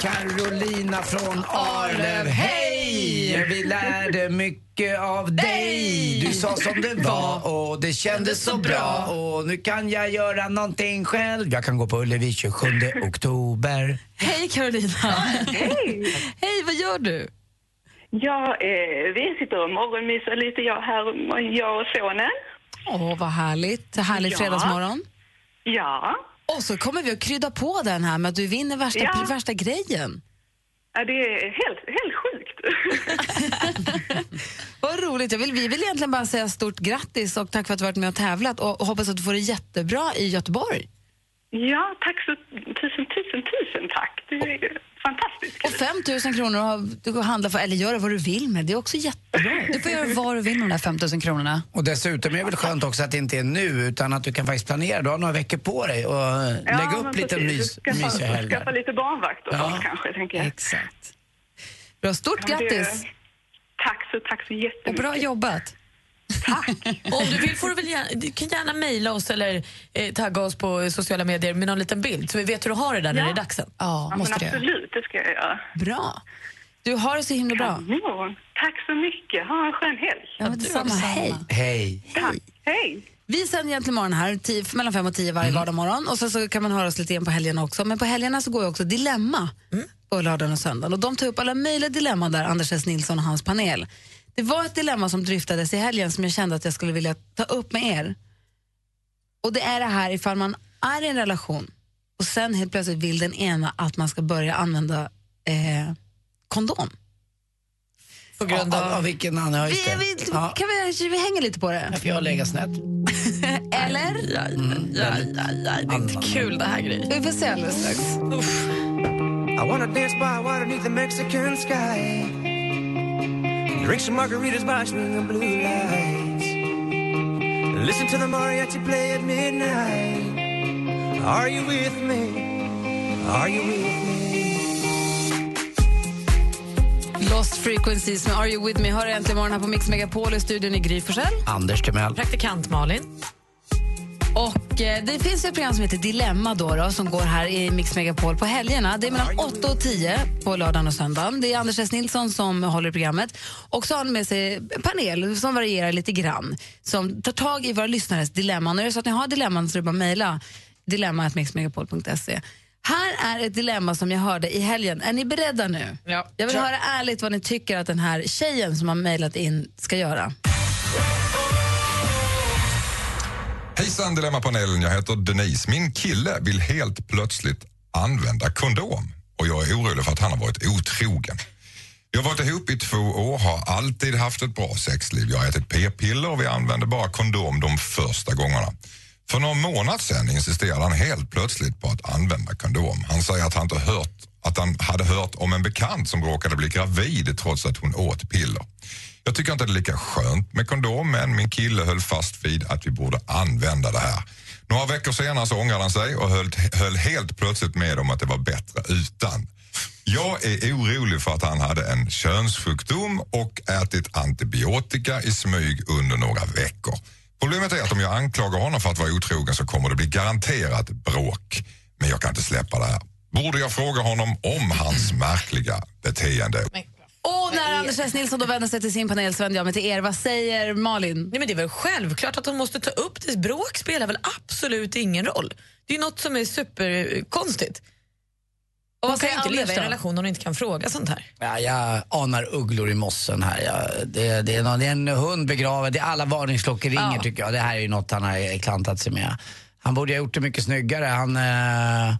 Carolina från Arlöv, hej! hej! Vi lärde mycket av dig. Du sa som det var och det kändes så bra. Och nu kan jag göra någonting själv. Jag kan gå på Ullevi 27 oktober. Hej Carolina! Hej! Hej, vad gör du? Jag eh, vi sitter och morgonmysar lite, jag, här, och jag och sonen. Åh, vad härligt. Härligt Ja. fredagsmorgon. Ja. Och så kommer vi att krydda på den här med att du vinner värsta, Ja. värsta grejen. Ja, det är helt, helt sjukt. Vad roligt. Jag vill, vi vill egentligen bara säga stort grattis och tack för att du varit med och tävlat och, och hoppas att du får det jättebra i Göteborg. Ja, tack så tusen, tusen, tusen tack. Det är fantastiskt. Och 5 000 kronor har, du kan handla för, eller göra vad du vill med. Det är också jättebra. Du får göra vad du vill med de där 5 000 kronorna. Och dessutom är det väl skönt också att det inte är nu utan att du kan faktiskt planera. Du har några veckor på dig och eh, lägga upp men lite mys, precis. mysiga skaffa, helger. skaffa lite barnvakt och Ja. sånt kanske, tänker jag. Exakt. Bra, stort Ja, men det- grattis! Tack så, tack så jättemycket. Och bra jobbat. Och om du vill får du väl gärna, du kan gärna mejla oss eller eh, tagga oss på sociala medier med någon liten bild så vi vet hur du har det där när det är dags sen. Ja, men absolut, det ska jag göra. Bra. Du har det så himla bra. Kanon. Tack så mycket. Ha en skön helg. Ja, men detsamma. Hej. Hej. Tack. Hej. Vi sänder egentligen morgon här, tio, mellan fem och tio varje Mm. vardagsmorgon. Och sen så kan man höra oss lite igen på helgerna också. Men på helgerna så går ju också Dilemma Mm. på lördagen och söndagen. Och de tar upp alla möjliga dilemman där, Anders S. Nilsson och hans panel. Det var ett dilemma som dryftades i helgen som jag kände att jag skulle vilja ta upp med er. Och det är det här ifall man är i en relation och sen helt plötsligt vill den ena att man ska börja använda eh, kondom. På grund av, av vilken annan? Ja, just Vi, det. vi, Ja. kan vi, vi hänger lite på det. För jag lägger snett. Mm, Eller? Ja, ja, ja, det är inte kul det här grejen. Vi får se alldeles strax. I wanna dance by water beneath the Mexican sky. Drink some margaritas watching the blue lights. Listen to the mariachi play at midnight. Are you with me? Are you with me? Lost Frequencies med Are You With Me hör äntligen morgon här på Mix Megapol i studion i Gry Forssell. Anders Timell. Praktikant Malin. Och eh, det finns ett program som heter Dilemma då, då, som går här i Mix Megapol på helgerna. Det är mellan 8 och 10 på lördagen och söndagen. Det är Anders S. Nilsson som håller i programmet. Och så har han med sig en panel som varierar lite grann. Som tar tag i våra lyssnares dilemman. Och är det så att ni har dilemman så är det bara att mejla dilemma.mixmegapol.se. Här är ett dilemma som jag hörde i helgen. Är ni beredda nu? Ja. Jag vill höra ärligt vad ni tycker att den här tjejen som har mejlat in ska göra. Hejsan Dilemmapanelen, jag heter Denise. Min kille vill helt plötsligt använda kondom och jag är orolig för att han har varit otrogen. Jag har varit ihop i två år, har alltid haft ett bra sexliv. Jag har ätit p-piller och vi använde bara kondom de första gångerna. För någon månad sedan insisterade han helt plötsligt på att använda kondom. Han säger att han, inte hört, att han hade hört om en bekant som råkade bli gravid trots att hon åt piller. Jag tycker inte det är lika skönt med kondom men min kille höll fast vid att vi borde använda det här. Några veckor senare så ångrade han sig och höll, höll helt plötsligt med om att det var bättre utan. Jag är orolig för att han hade en könssjukdom och ätit antibiotika i smyg under några veckor. Problemet är att om jag anklagar honom för att vara otrogen så kommer det bli garanterat bråk. Men jag kan inte släppa det här. Borde jag fråga honom om hans märkliga beteende? Och när Anders S. Nilsson då vänder sig till sin panel så vänder jag mig till er. Vad säger Malin? Nej, men det är väl självklart att de måste ta upp det. Bråk spelar väl absolut ingen roll. Det är ju något som är superkonstigt. Och Vad man kan säger ju inte Anders leva i en då? relation om du inte kan fråga sånt här. Ja, jag anar ugglor i mossen här. Jag, det, det, är någon, det är en hund begraven. Det är alla varningsklockor ringer Ja. tycker jag. Det här är ju något han har klantat sig med. Han borde ha gjort det mycket snyggare. Han, eh,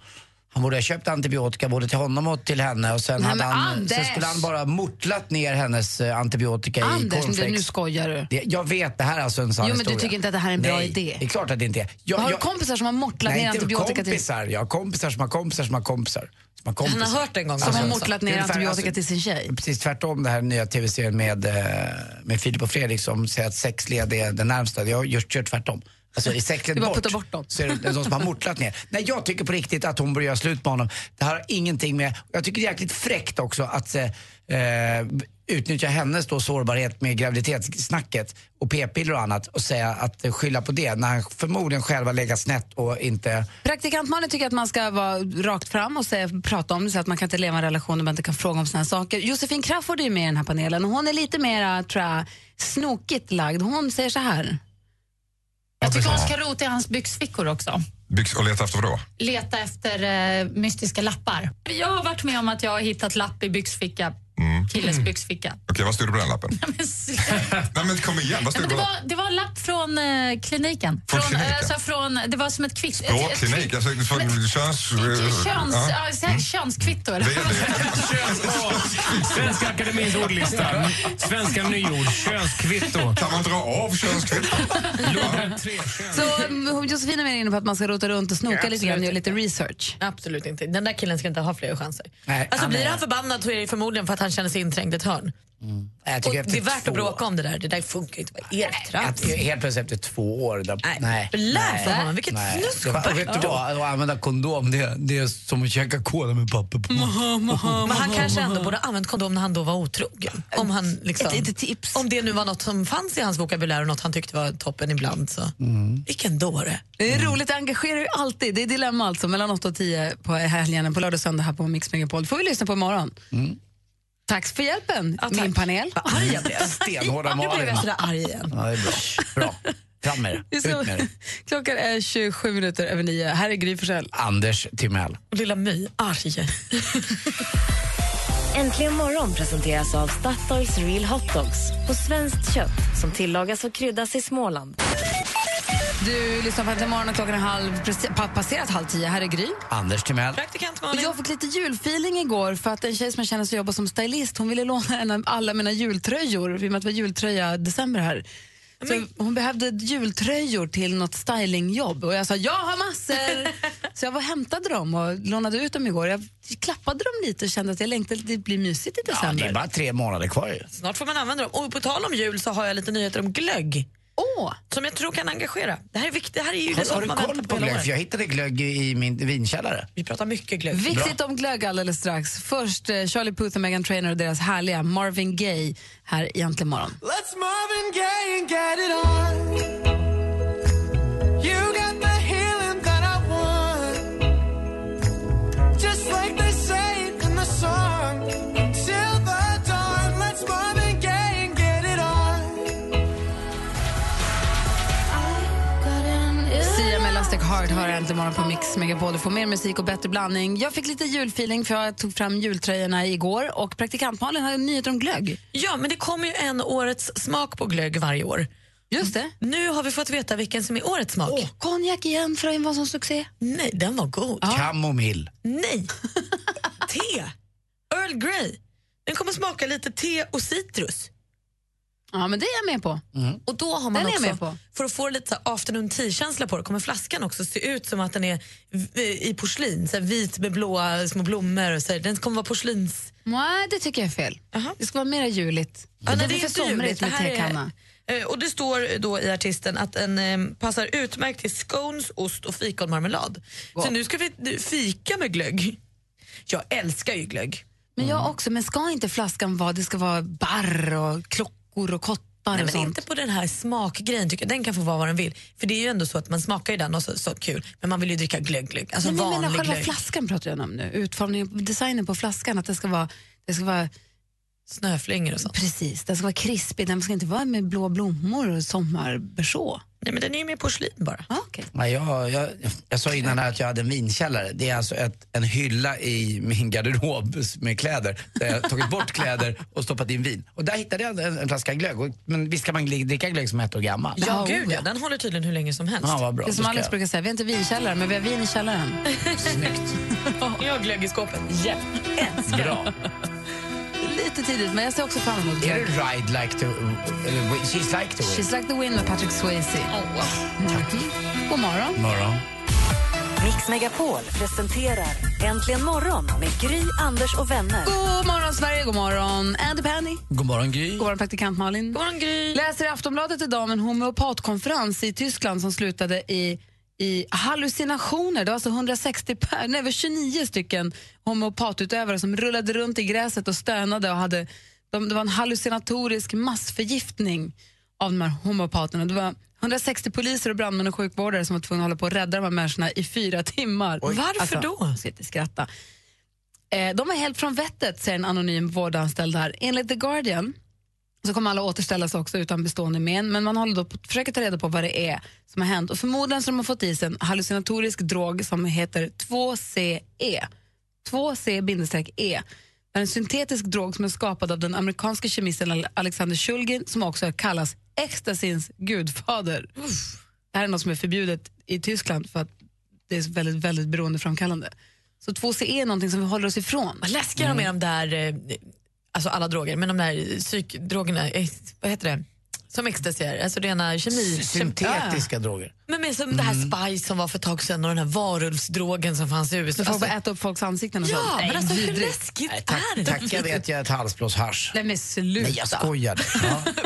han borde ha köpt antibiotika både till honom och till henne. Och sen, Nej, hade men han, sen Anders! skulle han bara mortlat ner hennes eh, antibiotika i Anders, cornflakes. du, nu skojar du. Det- Jag vet, det här är alltså en sann Jo, men du historia. tycker inte att det här är en bra Nej, idé? det är klart att det inte är. Jag, Jag- har du jag- kompisar som har mortlat Nej, ner inte antibiotika till... kompisar. Jag har kompisar som har kompisar som har kompisar. Som har alltså, Han har kompisar. hört en gång. Som har mortlat ner det är antibiotika till sin tjej. Precis tvärtom det här nya tv-serien med, eh, med Filip och Fredrik som säger att sexled är det närmsta. Jag gör, kör tvärtom. Alltså är Det sexled är bara bort, att putta bort dem. så är det de som har mortlat ner. Nej, jag tycker på riktigt att hon borde göra slut med honom. Det här har ingenting med... Jag tycker det är jäkligt fräckt också att eh, eh, utnyttja hennes då sårbarhet med graviditetssnacket och p-piller och annat och säga att eh, skylla på det när han förmodligen själv har legat snett och inte... Praktikant Malin tycker att man ska vara rakt fram och säga, prata om det så att man kan inte leva i en relation där man inte kan fråga om såna här saker. Josefin Crafoord är ju med i den här panelen och hon är lite mer tror jag, snokigt lagd. Hon säger så här. Jag tycker hon ska rota i hans byxfickor också. Byx och leta efter vadå? Leta efter eh, mystiska lappar. Jag har varit med om att jag har hittat lapp i byxficka, Mm. killes byxficka. Okej, vad stod det på den lappen? Nej men kom igen, vad Nej, stod det men det, på den? var, det var en lapp från eh, kliniken. Från kliniken? Alltså, från, det var som ett kvitto. Språkklinik, alltså för köns... Köns, Ja. Mm. ja. så här, könskvitto. eller? Svenska Akademins ordlistan. Svenska nyord. Könskvitto. Kan man dra av könskvitto? Så mm, Josefin är mer inne på att man ska rota runt och snoka lite grann och göra lite research. Absolut inte. Den där killen ska inte ha fler chanser. Nej, Alltså han blir är- han förbannad så är det förmodligen för att han känner sig inträngd i ett hörn. Mm. Nej, jag Och tycker efter det är värt två- att bråka om det där. Det där funkar inte. Vad är det för trams? Att helt plötsligt efter två år. Där, nej. nej. Lär för honom. Vilket snusk. Det var- och Vet du vad? Att använda kondom, det, det är som att käka kola med papper på. Men han kanske ändå borde ha använt kondom när han då var otrogen. Om, han liksom, om det nu var något som fanns i hans vokabulär och något han tyckte var toppen ibland. Så. Mm. Vilken dåre. Det är roligt, det engagerar ju alltid. Det är dilemma alltså mellan 8 och 10 på helgen, på lördag och söndag här på Mix Megapol. får vi lyssna på imorgon. Mm. Tack för hjälpen, min panel. Vad arg jag blev. Stenhårda Nu blev Malin. jag sådär arg igen. Ja, det är bra. bra. Fram med det. Det är Ut så- med det. Klockan är 27 minuter över 9. Här är Gry Forssell. Anders Timell. Lilla My, arg. Äntligen morgon presenteras av Statoils Real Hot Dogs på svenskt kött som tillagas och kryddas i Småland. Du lyssnar på Äntligen morgon och klockan är halv, preci- pa- passerat halv 10. Här är Gry. Anders Timell. Och Jag fick lite julfeeling igår för att en tjej som jag känner som jobbar som stylist hon ville låna en av alla mina jultröjor, i och med att det var jultröja december här. Så hon behövde jultröjor till något stylingjobb och jag sa jag har massor. så jag var och hämtade dem och lånade ut dem igår. Jag klappade dem lite och kände att jag längtade, det blir mysigt i Ja, det december. är bara tre månader kvar ju. Snart får man använda dem. Och på tal om jul så har jag lite nyheter om glögg. Åh! Som jag tror kan engagera. Det här är viktigt. Det här är ju det Har, som har du man koll väntar på hela glögg? året. För jag hittade glögg i min vinkällare. Vi pratar mycket glögg. Viktigt om glögg alldeles strax. Först eh, Charlie Puth och Meghan Trainor och deras härliga Marvin Gaye här i Äntligen morgon. Let's Marvin Gaye and get it on. You got the healing that I want. Just like they say it in the song. Till the dawn, let's Marvin Gaye and get it on. Sia med Elastic Heart har äntligen morgon på Mix Megapol. Du får mer musik och bättre blandning. Jag fick lite julfeeling för jag tog fram jultröjorna igår och praktikantmalen hade nyheter om glögg. Ja, men det kommer ju en årets smak på glögg varje år. Just det. Nu har vi fått veta vilken som är årets smak. Konjak igen, för det var en sån succé. Nej, den var god. Kamomill. Nej! te! Earl Grey. Den kommer smaka lite te och citrus. Ja, men det är jag med på. Och då har man Den är jag också, med på. för att få lite så här afternoon tea-känsla på det, kommer flaskan också se ut som att den är v- i porslin, så här vit med blåa små blommor. Och så här. Den kommer vara porslins... Nej, det tycker jag är fel. Det ska vara mera juligt. Ja, nej, det blir för är inte juligt. somrigt Det med här tekanna. är, Eh, och det står då i artisten att den eh, passar utmärkt till scones, ost och fikonmarmelad. Så nu ska vi nu, fika med glögg. Jag älskar ju glögg. Men Mm. jag också, men ska inte flaskan vara, det ska vara barr och klockor och kottar Nej, och men sånt? inte på den här smakgrejen, tycker jag. den kan få vara vad den vill. För det är ju ändå så att man smakar ju den och så, så kul, men man vill ju dricka glögg, glögg. Alltså Nej, men jag menar vanlig själva glögg. flaskan pratar jag om nu, utformningen, designen på flaskan, att det ska vara, det ska vara Snöflingor och sånt. Precis, den ska vara krispig, den ska inte vara med blå blommor och sommarbeså. Nej, men den är ju mer porslin bara. Nej, jag, jag, jag sa innan här att jag hade en vinkällare. Det är alltså ett, en hylla i min garderob med kläder. Där jag har tagit bort kläder och stoppat in vin. Och där hittade jag en, en flaska glögg. Och, men visst kan man gl- dricka glögg som är ett år gammal? Ja, gud ja. Den håller tydligen hur länge som helst. Ja, vad bra. oh, det är som då ska Alex jag- brukar säga, vi har inte vinkällare, men vi har vin i källaren. Snyggt. jag har glögg i skåpet. Yeah. Bra. Lite tidigt, men jag ser också fram emot Är det det. Ride Like To... Eller wi- She's Like To Win? She's like the wind med Patrick Swayze. Mm. Tack. God morgon. Morgon. Mix Megapol presenterar Äntligen morgon med Gry, Anders och vänner. God morgon, Sverige. God morgon, Andy Penny. God morgon, Gry. God morgon, praktikant Malin. God morgon, Gry. Läser i Aftonbladet idag om en homeopatkonferens i Tyskland som slutade i, i hallucinationer. Det var alltså 160 per, nej, över 29 stycken homeopatutövare som rullade runt i gräset och stönade. Och hade, de, det var en hallucinatorisk massförgiftning av de här homeopaterna. Det var 160 poliser och brandmän och sjukvårdare som var tvungna att hålla på och rädda de här människorna i fyra timmar. Alltså, Oj. Varför då? Jag ska inte skratta. Eh, de var helt från vettet, säger en anonym vårdanställd här. Enligt The Guardian så kommer alla återställas också utan bestående men, men man håller då på, försöker ta reda på vad det är som har hänt. Och förmodligen så har de fått i sig en hallucinatorisk drog som heter 2CE. 2C-E. Det är en syntetisk drog som är skapad av den amerikanska kemisten Al- Alexander Shulgin som också kallas ecstasins gudfader. Det här är något som är förbjudet i Tyskland för att det är väldigt, väldigt beroendeframkallande. Så 2CE är någonting som vi håller oss ifrån. Vad läskiga de är de där, eh, alltså alla droger, men de där psykdrogerna, eh, vad heter det? Som ecstasy är, alltså rena kemi... Syntetiska Ja. droger. Men med som det här spice som var för ett tag sedan och den här varulvsdrogen som fanns i USA. Alltså- Så folk bara äta upp folks ansikten och Ja, sånt. men alltså hur vidrigt. läskigt Nej, är det? tack, tacka vet jag ett halsblåshasch. Nej men sluta. Nej, alltså. jag skojade.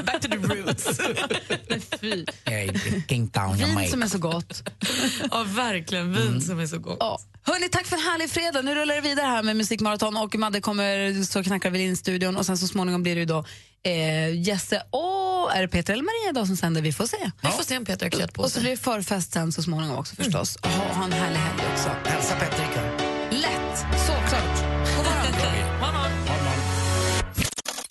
Back to the roots. Nej, drinking down your Vin mic. som är så gott. ja, verkligen. Vin som är så gott. Ja. Hörni, tack för en härlig fredag. Nu rullar det vidare här med Musikmaraton och Madde kommer så knackar vi in i studion och sen så småningom blir det ju då eh, Jesse och är det Peter eller Maria idag som sänder? Vi får se. Vi får se om Peter har klätt på Och så sig. blir det förfest sen så småningom också förstås. Och ha, ha en härlig helg också. Hälsa Petter. Lätt, såklart. God morgon.